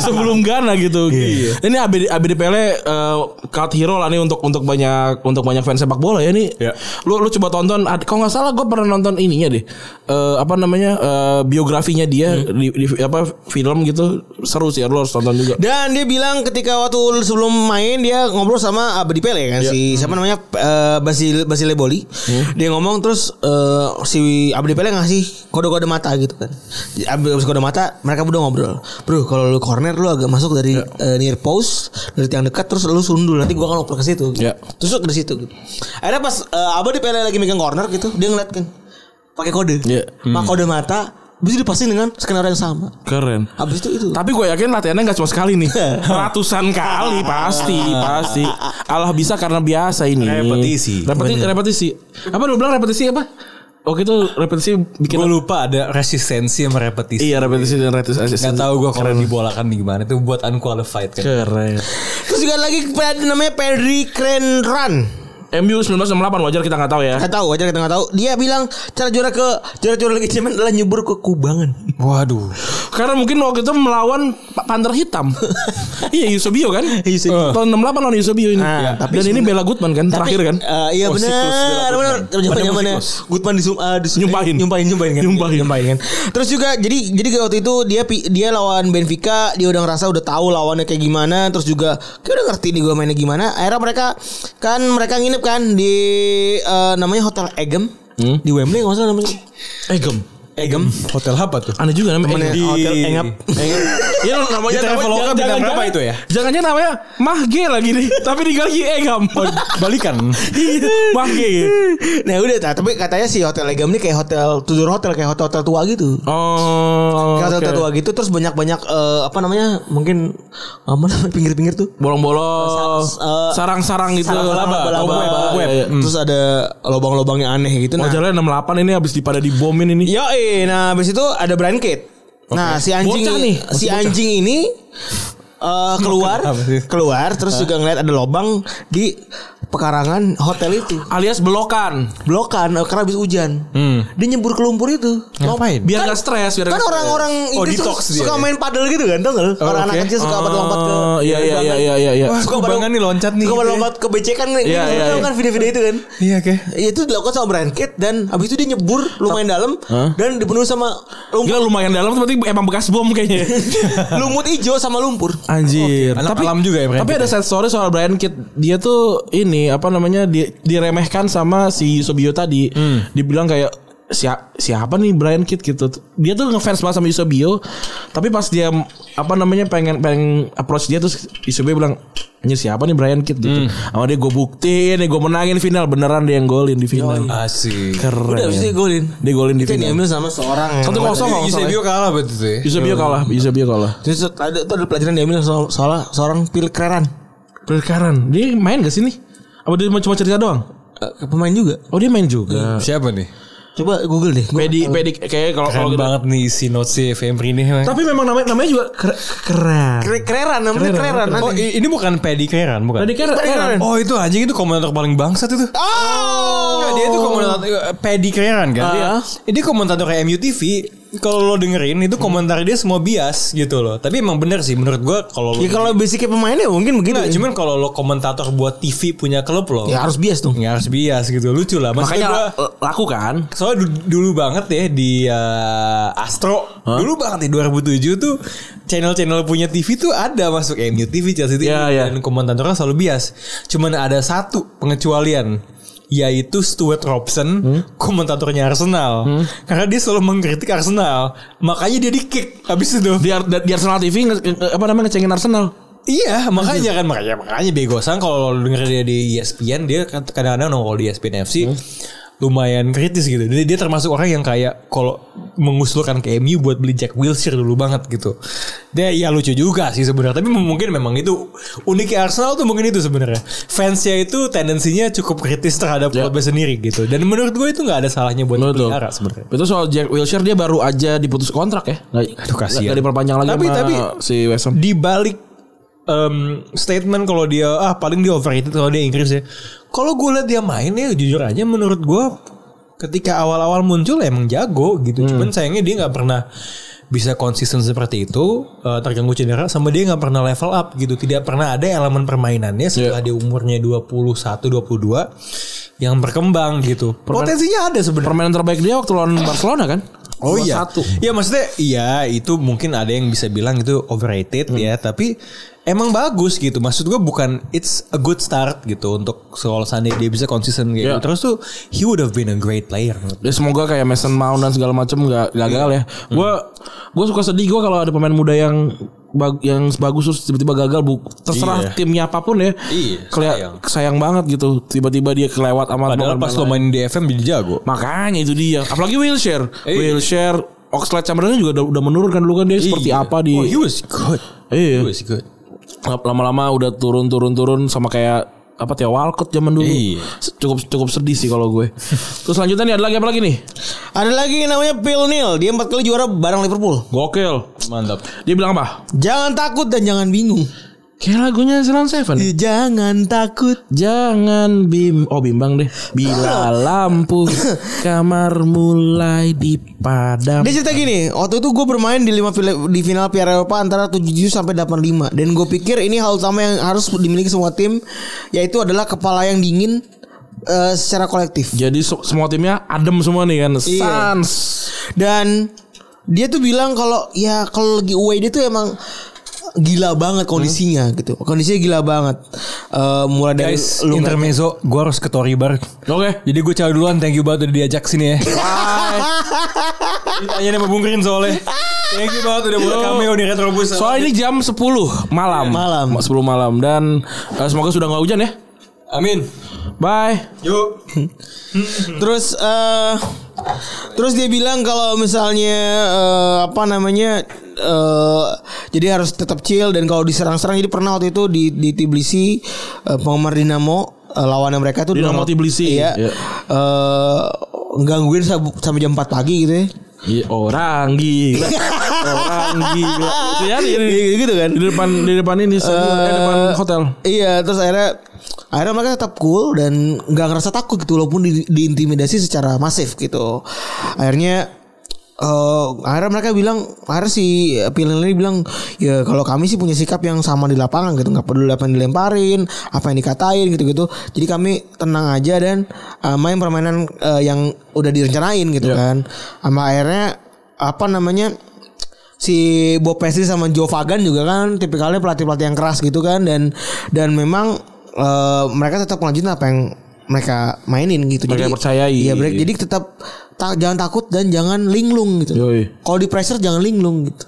sebelum Ghana gitu. Iya. Ini ABD ABD Pele eh, cult hero lah nih untuk untuk banyak untuk banyak fans sepak bola ya nih. Iya. Lu lu coba tonton ad- kalau nggak salah gue pernah nonton ininya deh. Eh, apa namanya? eh, biografinya dia Hmm. di, di- apa film gitu seru sih lu harus tonton juga. Dan dia bilang ketika waktu sebelum main dia ngobrol sama Abadi Pele kan Iya. Hmm. si siapa namanya eh, Basil Basile Boli. Dia ngomong terus eh, si Abadi Pele ngasih kode-kode mata gitu kan. Abis kode mata mereka berdua ngobrol. Bro, kalau lu corner lu agak masuk dari Iya. eh, near post, dari tiang dekat terus lu sundul nanti gua akan oper ke situ. Gitu. Iya. Terus dari situ gitu. Akhirnya pas eh, Abadi Pele lagi megang corner gitu, dia ngeliat kan pakai kode. Iya. Pakai kode mata bisa dipasin dengan skenario yang sama. Keren. Abis itu itu. Tapi gue yakin latihannya nggak cuma sekali [LAUGHS] nih, ratusan kali pasti, pasti. Allah bisa karena biasa ini. Repetisi. Repeti- repetisi. Apa lu bilang repetisi apa? Oke itu repetisi bikin. Gue lupa ada resistensi yang merepetisi. Iya repetisi dan repetisi. Gak tau gue kalau dibolakan nih gimana Itu buat unqualified kan Keren. Terus juga lagi pe- namanya Pedri Krenran. MU 1968 wajar kita nggak tahu ya. Gak tahu aja kita nggak tahu. Dia bilang cara juara ke cara juara lagi cuman adalah nyebur ke kubangan. Waduh Karena mungkin waktu itu melawan Pa- Panther [LAUGHS] Hitam. iya Yusubio kan? Eusebio. Tahun 68 lawan Yusubio ini. Ah, Iya. dan tapi ini sebenarnya- Bella Goodman kan terakhir kan? Eh, iya Oh, benar. siklus Bella Goodman. Benar. Zaman Padahal zamannya siklus. Goodman disum, eh, dis- Nyumpahin. nyumpahin, nyumpahin kan. Nyumpahin. kan. Terus juga jadi jadi kayak waktu itu dia pi- dia lawan Benfica, dia udah ngerasa udah tahu lawannya kayak gimana, terus juga kayak udah ngerti nih gue mainnya gimana. Akhirnya mereka kan mereka nginep kan di eh, namanya Hotel Egem Hmm? di Wembley nggak salah namanya. Egem. Egem. Hotel apa tuh? Aneh juga namanya. Egem. Di Hotel Engap. Iya namanya Di Traveloka namanya- bintang jangan- berapa jangan- itu ya? Jangan-jangan namanya Mahge lagi nih, tapi E, diganti Egam. [LAUGHS] Balikan Mahge. [LAUGHS] Nah udah ta- tapi katanya si hotel legam ini kayak hotel Tudor hotel kayak hotel hotel tua gitu. Oh. Kayak hotel oke. hotel tua gitu terus banyak banyak apa namanya mungkin apa namanya pinggir-pinggir tuh. Bolong-bolong, Sa- eh, sarang-sarang gitu. Sarang-sarang laba-laba. laba-laba. Iya, iya. Terus ada lubang-lubang yang aneh gitu. Nah, Majalahnya 68 ini habis dipada dibomin Oh, ini. yo nah habis itu ada Brian Kate. Nah si anjing Bocah nih. si anjing ini eh, keluar Kenapa sih? keluar terus juga ngeliat ada lubang di pekarangan hotel itu Alias belokan. blokan eh, karena habis hujan. Hmm. Dia nyebur ke lumpur itu. Ngapain? Biar nggak stres, biar Kan nggak stres. orang-orang oh, itu detox suka, dia. suka main padel gitu kan, tau nggak lu? Orang anak kecil suka pada lompat ke Oh, iya iya iya iya iya. iya. suka pada Kubangan nih loncat nih. suka pada gitu ya. lompat ke BC kan gitu, Iya, iya, tau iya. kan video-video itu kan. Iya oke. Ya, itu dilakukan sama Brian Kidd dan habis itu dia nyebur lumayan dalam dan dipenuhi sama [LAUGHS] lumpur, Gila lumayan dalam tapi emang bekas bom kayaknya. [LAUGHS] lumut hijau sama lumpur. Anjir. Anak alam juga ya Brian Tapi ada sad story soal Brian Kidd. Dia tuh ini apa namanya di- diremehkan sama si Yusobio tadi. Hmm. Dibilang kayak siapa siapa nih Brian Kidd gitu. Dia tuh ngefans banget sama Yusobio. Tapi pas dia apa namanya pengen pengen approach dia terus Yusobio bilang Anjir siapa nih Brian Kidd Hmm. gitu. Sama dia gue buktiin, gue menangin final beneran dia yang golin di final. Asik. Keren. Udah habis itu dia golin. dia golin di Itu yang final. diambil sama seorang. Satu kosong kalau nggak salah. Eusebio kalah betul tuh ya. Yusobio kalah, Yusobio kalah. Terus itu ada itu ada pelajaran diambil sama salah seorang pilkeran. Berkaran. Dia main gak sih nih? Apa dia cuma cerita doang? Eh, pemain juga. Oh dia main juga. Hmm. Siapa nih? Coba Google deh. Gua- Pedi pedi kayak kalau Keren kalau gitu. banget nih si Notsi Femri ini. emang. Tapi memang namanya namanya juga ker- keren. Kre- Kreran namanya iya. kreran. Oh nanti. i- ini bukan pedikeran bukan? Tadi keren. keren. Oh itu anjing itu komentator paling bangsat itu. Oh. dia itu komentator Pedi Kereran kan. Dia, ini komentator MU TV. Kalau lo dengerin itu komentar dia semua bias gitu loh. Tapi emang bener sih menurut gua kalau lo Ya kalau basicnya pemainnya mungkin begitu. Nah, cuman kalau lo komentator buat TV punya klub lo, ya, Ya harus bias eh, dong. harus bias gitu. Lucu lah. Maksudnya gua- Makanya la- laku kan? Soalnya du- dulu banget ya di eh, Astro. Dulu banget ya 2007 tuh channel-channel punya TV tuh ada masuk MU TV Chelsea TV Iya, iya. dan komentatornya selalu bias. Cuman ada satu pengecualian yaitu Stuart Robson, komentatornya Arsenal. Karena dia selalu mengkritik Arsenal. Makanya dia di-kick habis itu. Di, Ar- di Arsenal TV nge- nge- apa namanya ngecengin Arsenal. Iya, makanya kan makanya makanya bego sang kalau lu denger dia di E ESPN dia kan kadang-kadang nongol di E ESPN FC lumayan kritis gitu. Jadi dia termasuk orang yang kayak kalau mengusulkan ke MU buat beli Jack Wilshere dulu banget gitu. Dia ya lucu juga sih sebenarnya, tapi mungkin memang itu uniknya Arsenal tuh mungkin itu sebenarnya. Fansnya itu tendensinya cukup kritis terhadap klubnya sendiri gitu. Dan menurut gue itu nggak ada salahnya buat Betul. dipelihara sebenarnya. Itu soal Jack Wilshere dia baru aja diputus kontrak ya. Nggak, Aduh, kasihan. nggak diperpanjang lagi Tapi- sama tapi- si West Ham. di balik em, statement kalau dia ah paling dia overrated kalau dia Inggris ya. Kalau gue liat dia main ya jujur aja menurut gue ketika awal-awal muncul ya emang jago gitu. Cuman sayangnya dia nggak pernah bisa konsisten seperti itu eh, terganggu cedera sama dia nggak pernah level up gitu tidak pernah ada elemen permainannya setelah dia umurnya 21 22 yang berkembang gitu potensinya ada sebenarnya Permainan terbaik dia waktu lawan Barcelona kan? Oh iya. Satu. Iya maksudnya iya itu mungkin ada yang bisa bilang itu overrated Hmm. ya, tapi emang bagus gitu. Maksud gua bukan it's a good start gitu untuk kalau seandainya dia bisa konsisten kayak Iya. gitu. Terus tuh he would have been a great player. Ya semoga kayak Mason Mount dan segala macam nggak gagal ya. Gue gue suka sedih gue kalau ada pemain muda yang bag- yang bagus terus tiba-tiba gagal bu terserah timnya apapun ya. Iya, Kayak sayang. banget gitu. Tiba-tiba dia kelewat amat. Padahal pas lo main di FM jadi jago. Makanya itu dia. Apalagi Wilshire. Wilshire Oxlade Chamberlain juga udah, udah menurun kan dulu kan dia seperti Iya. apa di Oh, he was good. Iya. He was good. lama-lama udah turun-turun-turun sama kayak apa Theo Walcott zaman dulu. Iya. Cukup cukup sedih sih kalau [LAUGHS] gue. terus selanjutnya nih ada lagi apa lagi nih? Ada lagi namanya Phil Neal. Dia empat kali juara bareng Liverpool. Gokil. Iya. Mantap. Dia bilang apa? Jangan takut dan jangan bingung. Kayak lagunya Silent Seven. Eh, Jangan takut. Jangan bim Oh bimbang deh [LAUGHS] Bila lampu Kamar mulai dipadam Dia cerita gini, waktu itu gue bermain di lima fila- di final Piala Eropa antara 77 sampai 85 dan gue pikir ini hal utama yang harus dimiliki semua tim yaitu adalah kepala yang dingin eh, secara kolektif. Jadi se- semua timnya adem semua nih Iya. kan Sans Dan dia tuh bilang kalau ya kalau lagi away dia tuh emang gila banget kondisinya gitu. Kondisinya gila banget. Eh, mulai dari Guys, lu intermezzo gue harus ke Tory Bar. Oke Jadi gue cari duluan, thank you banget udah diajak sini ya. Ditanya sama Bung Rin soalnya. Thank you banget udah buat cameo di Retrobus. Soalnya ini jam 10 malam Malam. 10 malam Dan eh, semoga sudah nggak hujan ya Amin. Bye Yuk. Terus eh terus dia bilang kalau misalnya eh, apa namanya eh jadi harus tetap chill dan kalau diserang-serang jadi pernah waktu itu di di Tbilisi eh, penggemar Dinamo eh, lawannya mereka itu Dinamo Tbilisi. Iya. Iya. Eh, gangguin sab- sampai jam 4 pagi gitu ya. Iya, Orang [LAUGHS] gila Orang gila Itu ya di, di, Iya, gitu kan. di eh, depan di depan ini eh, depan hotel Iya, terus akhirnya akhirnya mereka tetap cool dan nggak ngerasa takut gitu walaupun di- diintimidasi secara masif gitu akhirnya eh akhirnya mereka bilang akhirnya si pilihan ini bilang ya kalau kami sih punya sikap yang sama di lapangan gitu nggak peduli apa yang dilemparin apa yang dikatain gitu gitu jadi kami tenang aja dan eh, main permainan eh, yang udah direncanain gitu kan sama akhirnya apa namanya si Bob Pesci sama Joe Fagan juga kan tipikalnya pelatih-pelatih yang keras gitu kan dan dan memang eh, mereka tetap melanjutin apa yang mereka mainin gitu. Mereka percayai. Iya, mereka- jadi tetap ta- jangan takut dan jangan linglung gitu. Yoi. Kalau di pressure jangan linglung gitu.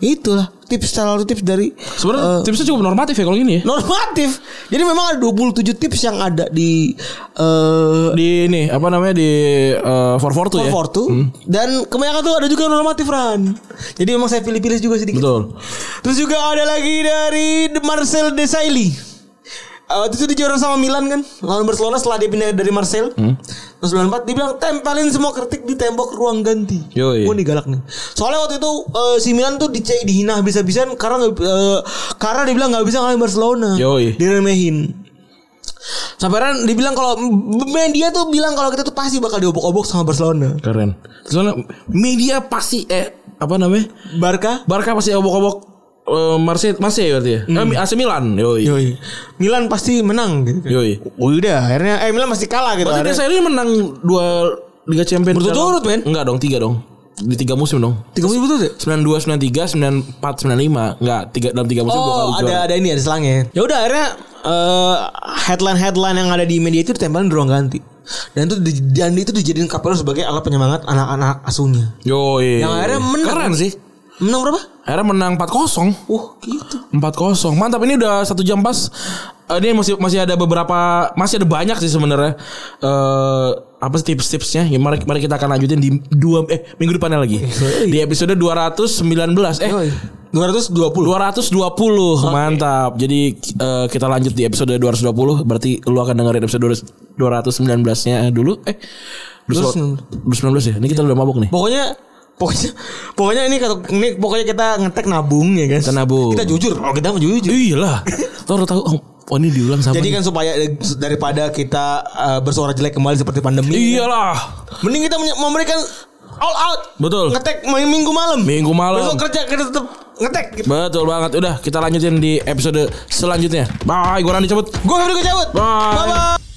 Itulah tips salah satu tips dari [LAUGHS] Sebenarnya eh, tipsnya cukup normatif ya kalau gini ya. normatif. Jadi memang ada 27 tips yang ada di eh Di ini apa namanya di eh, 442 ya. Fortu dan kebanyakan tuh ada juga normatif Ran. Jadi memang saya pilih-pilih juga sedikit. Betul. Terus juga ada lagi dari Marcel Desailly. Eh, waktu itu dia juara sama Milan kan lawan Barcelona setelah dia pindah dari Marcel. Hmm? Terus 94 dia bilang tempelin semua kritik di tembok ruang ganti. Yoi. Gua nih galak nih. Soalnya waktu itu eh, si Milan tuh dice dihina habis-habisan karena nggak- eh, karena dia bilang nggak bisa ngalahin Barcelona. Yoi. Diremehin. Sampai Ran dibilang kalau media tuh bilang kalau kita tuh pasti bakal diobok-obok sama Barcelona. Keren. Soalnya media pasti eh apa namanya? Barca Barca pasti obok-obok eh, Marseille Marseille berarti ya. Eh, AC Milan. Yoi. Yoi. Hmm. Yoi. Milan pasti menang gitu. kan. Yoi. Udah akhirnya eh Milan pasti kalah gitu. Berarti akhirnya. saya ini menang dua Liga Champions Berturut-turut, men? Enggak dong, tiga dong. Di tiga musim dong. Tiga musim betul deh. 92, 93, 94, 95. Enggak, tiga dalam tiga musim dua kali Oh, juara. ada ada ini ada selangnya. Ya udah akhirnya eh, headline-headline yang ada di media itu ditempelin di ruang ganti. Dan itu di- dan itu dijadiin Capello sebagai alat penyemangat anak-anak asuhnya. Yoi. Yang akhirnya menang. Keren sih. Menang berapa? Akhirnya menang 4-0. Uh, gitu. 4-0. Mantap ini udah satu jam pas. Eh, Ini masih masih ada beberapa masih ada banyak sih sebenarnya. Eh apa sih tips-tipsnya? Ya, mari, mari kita akan lanjutin di dua eh minggu depannya lagi. Di episode 219 eh 220. 220 mantap. Jadi eh, kita lanjut di episode 220 berarti lu akan dengerin episode 219-nya dulu. Eh 219 ya. Ini kita udah mabuk nih. Pokoknya pokoknya pokoknya ini kata ini pokoknya kita ngetek nabung ya guys. Kita nabung. Kita jujur. Oh, kita mau jujur. Iyalah. Tahu tahu oh, oh, ini diulang sama. Jadi nih. kan supaya daripada kita eh, bersuara jelek kembali seperti pandemi. iyalah. Mending kita menye- memberikan all out. Betul. Ngetek main minggu malam. Minggu malam. Besok kerja kita tetap ngetek. Gitu. Betul banget. Udah, kita lanjutin di episode selanjutnya. Bye, gua Randy cabut. Gue Febri gue cabut. Bye. Bye-bye.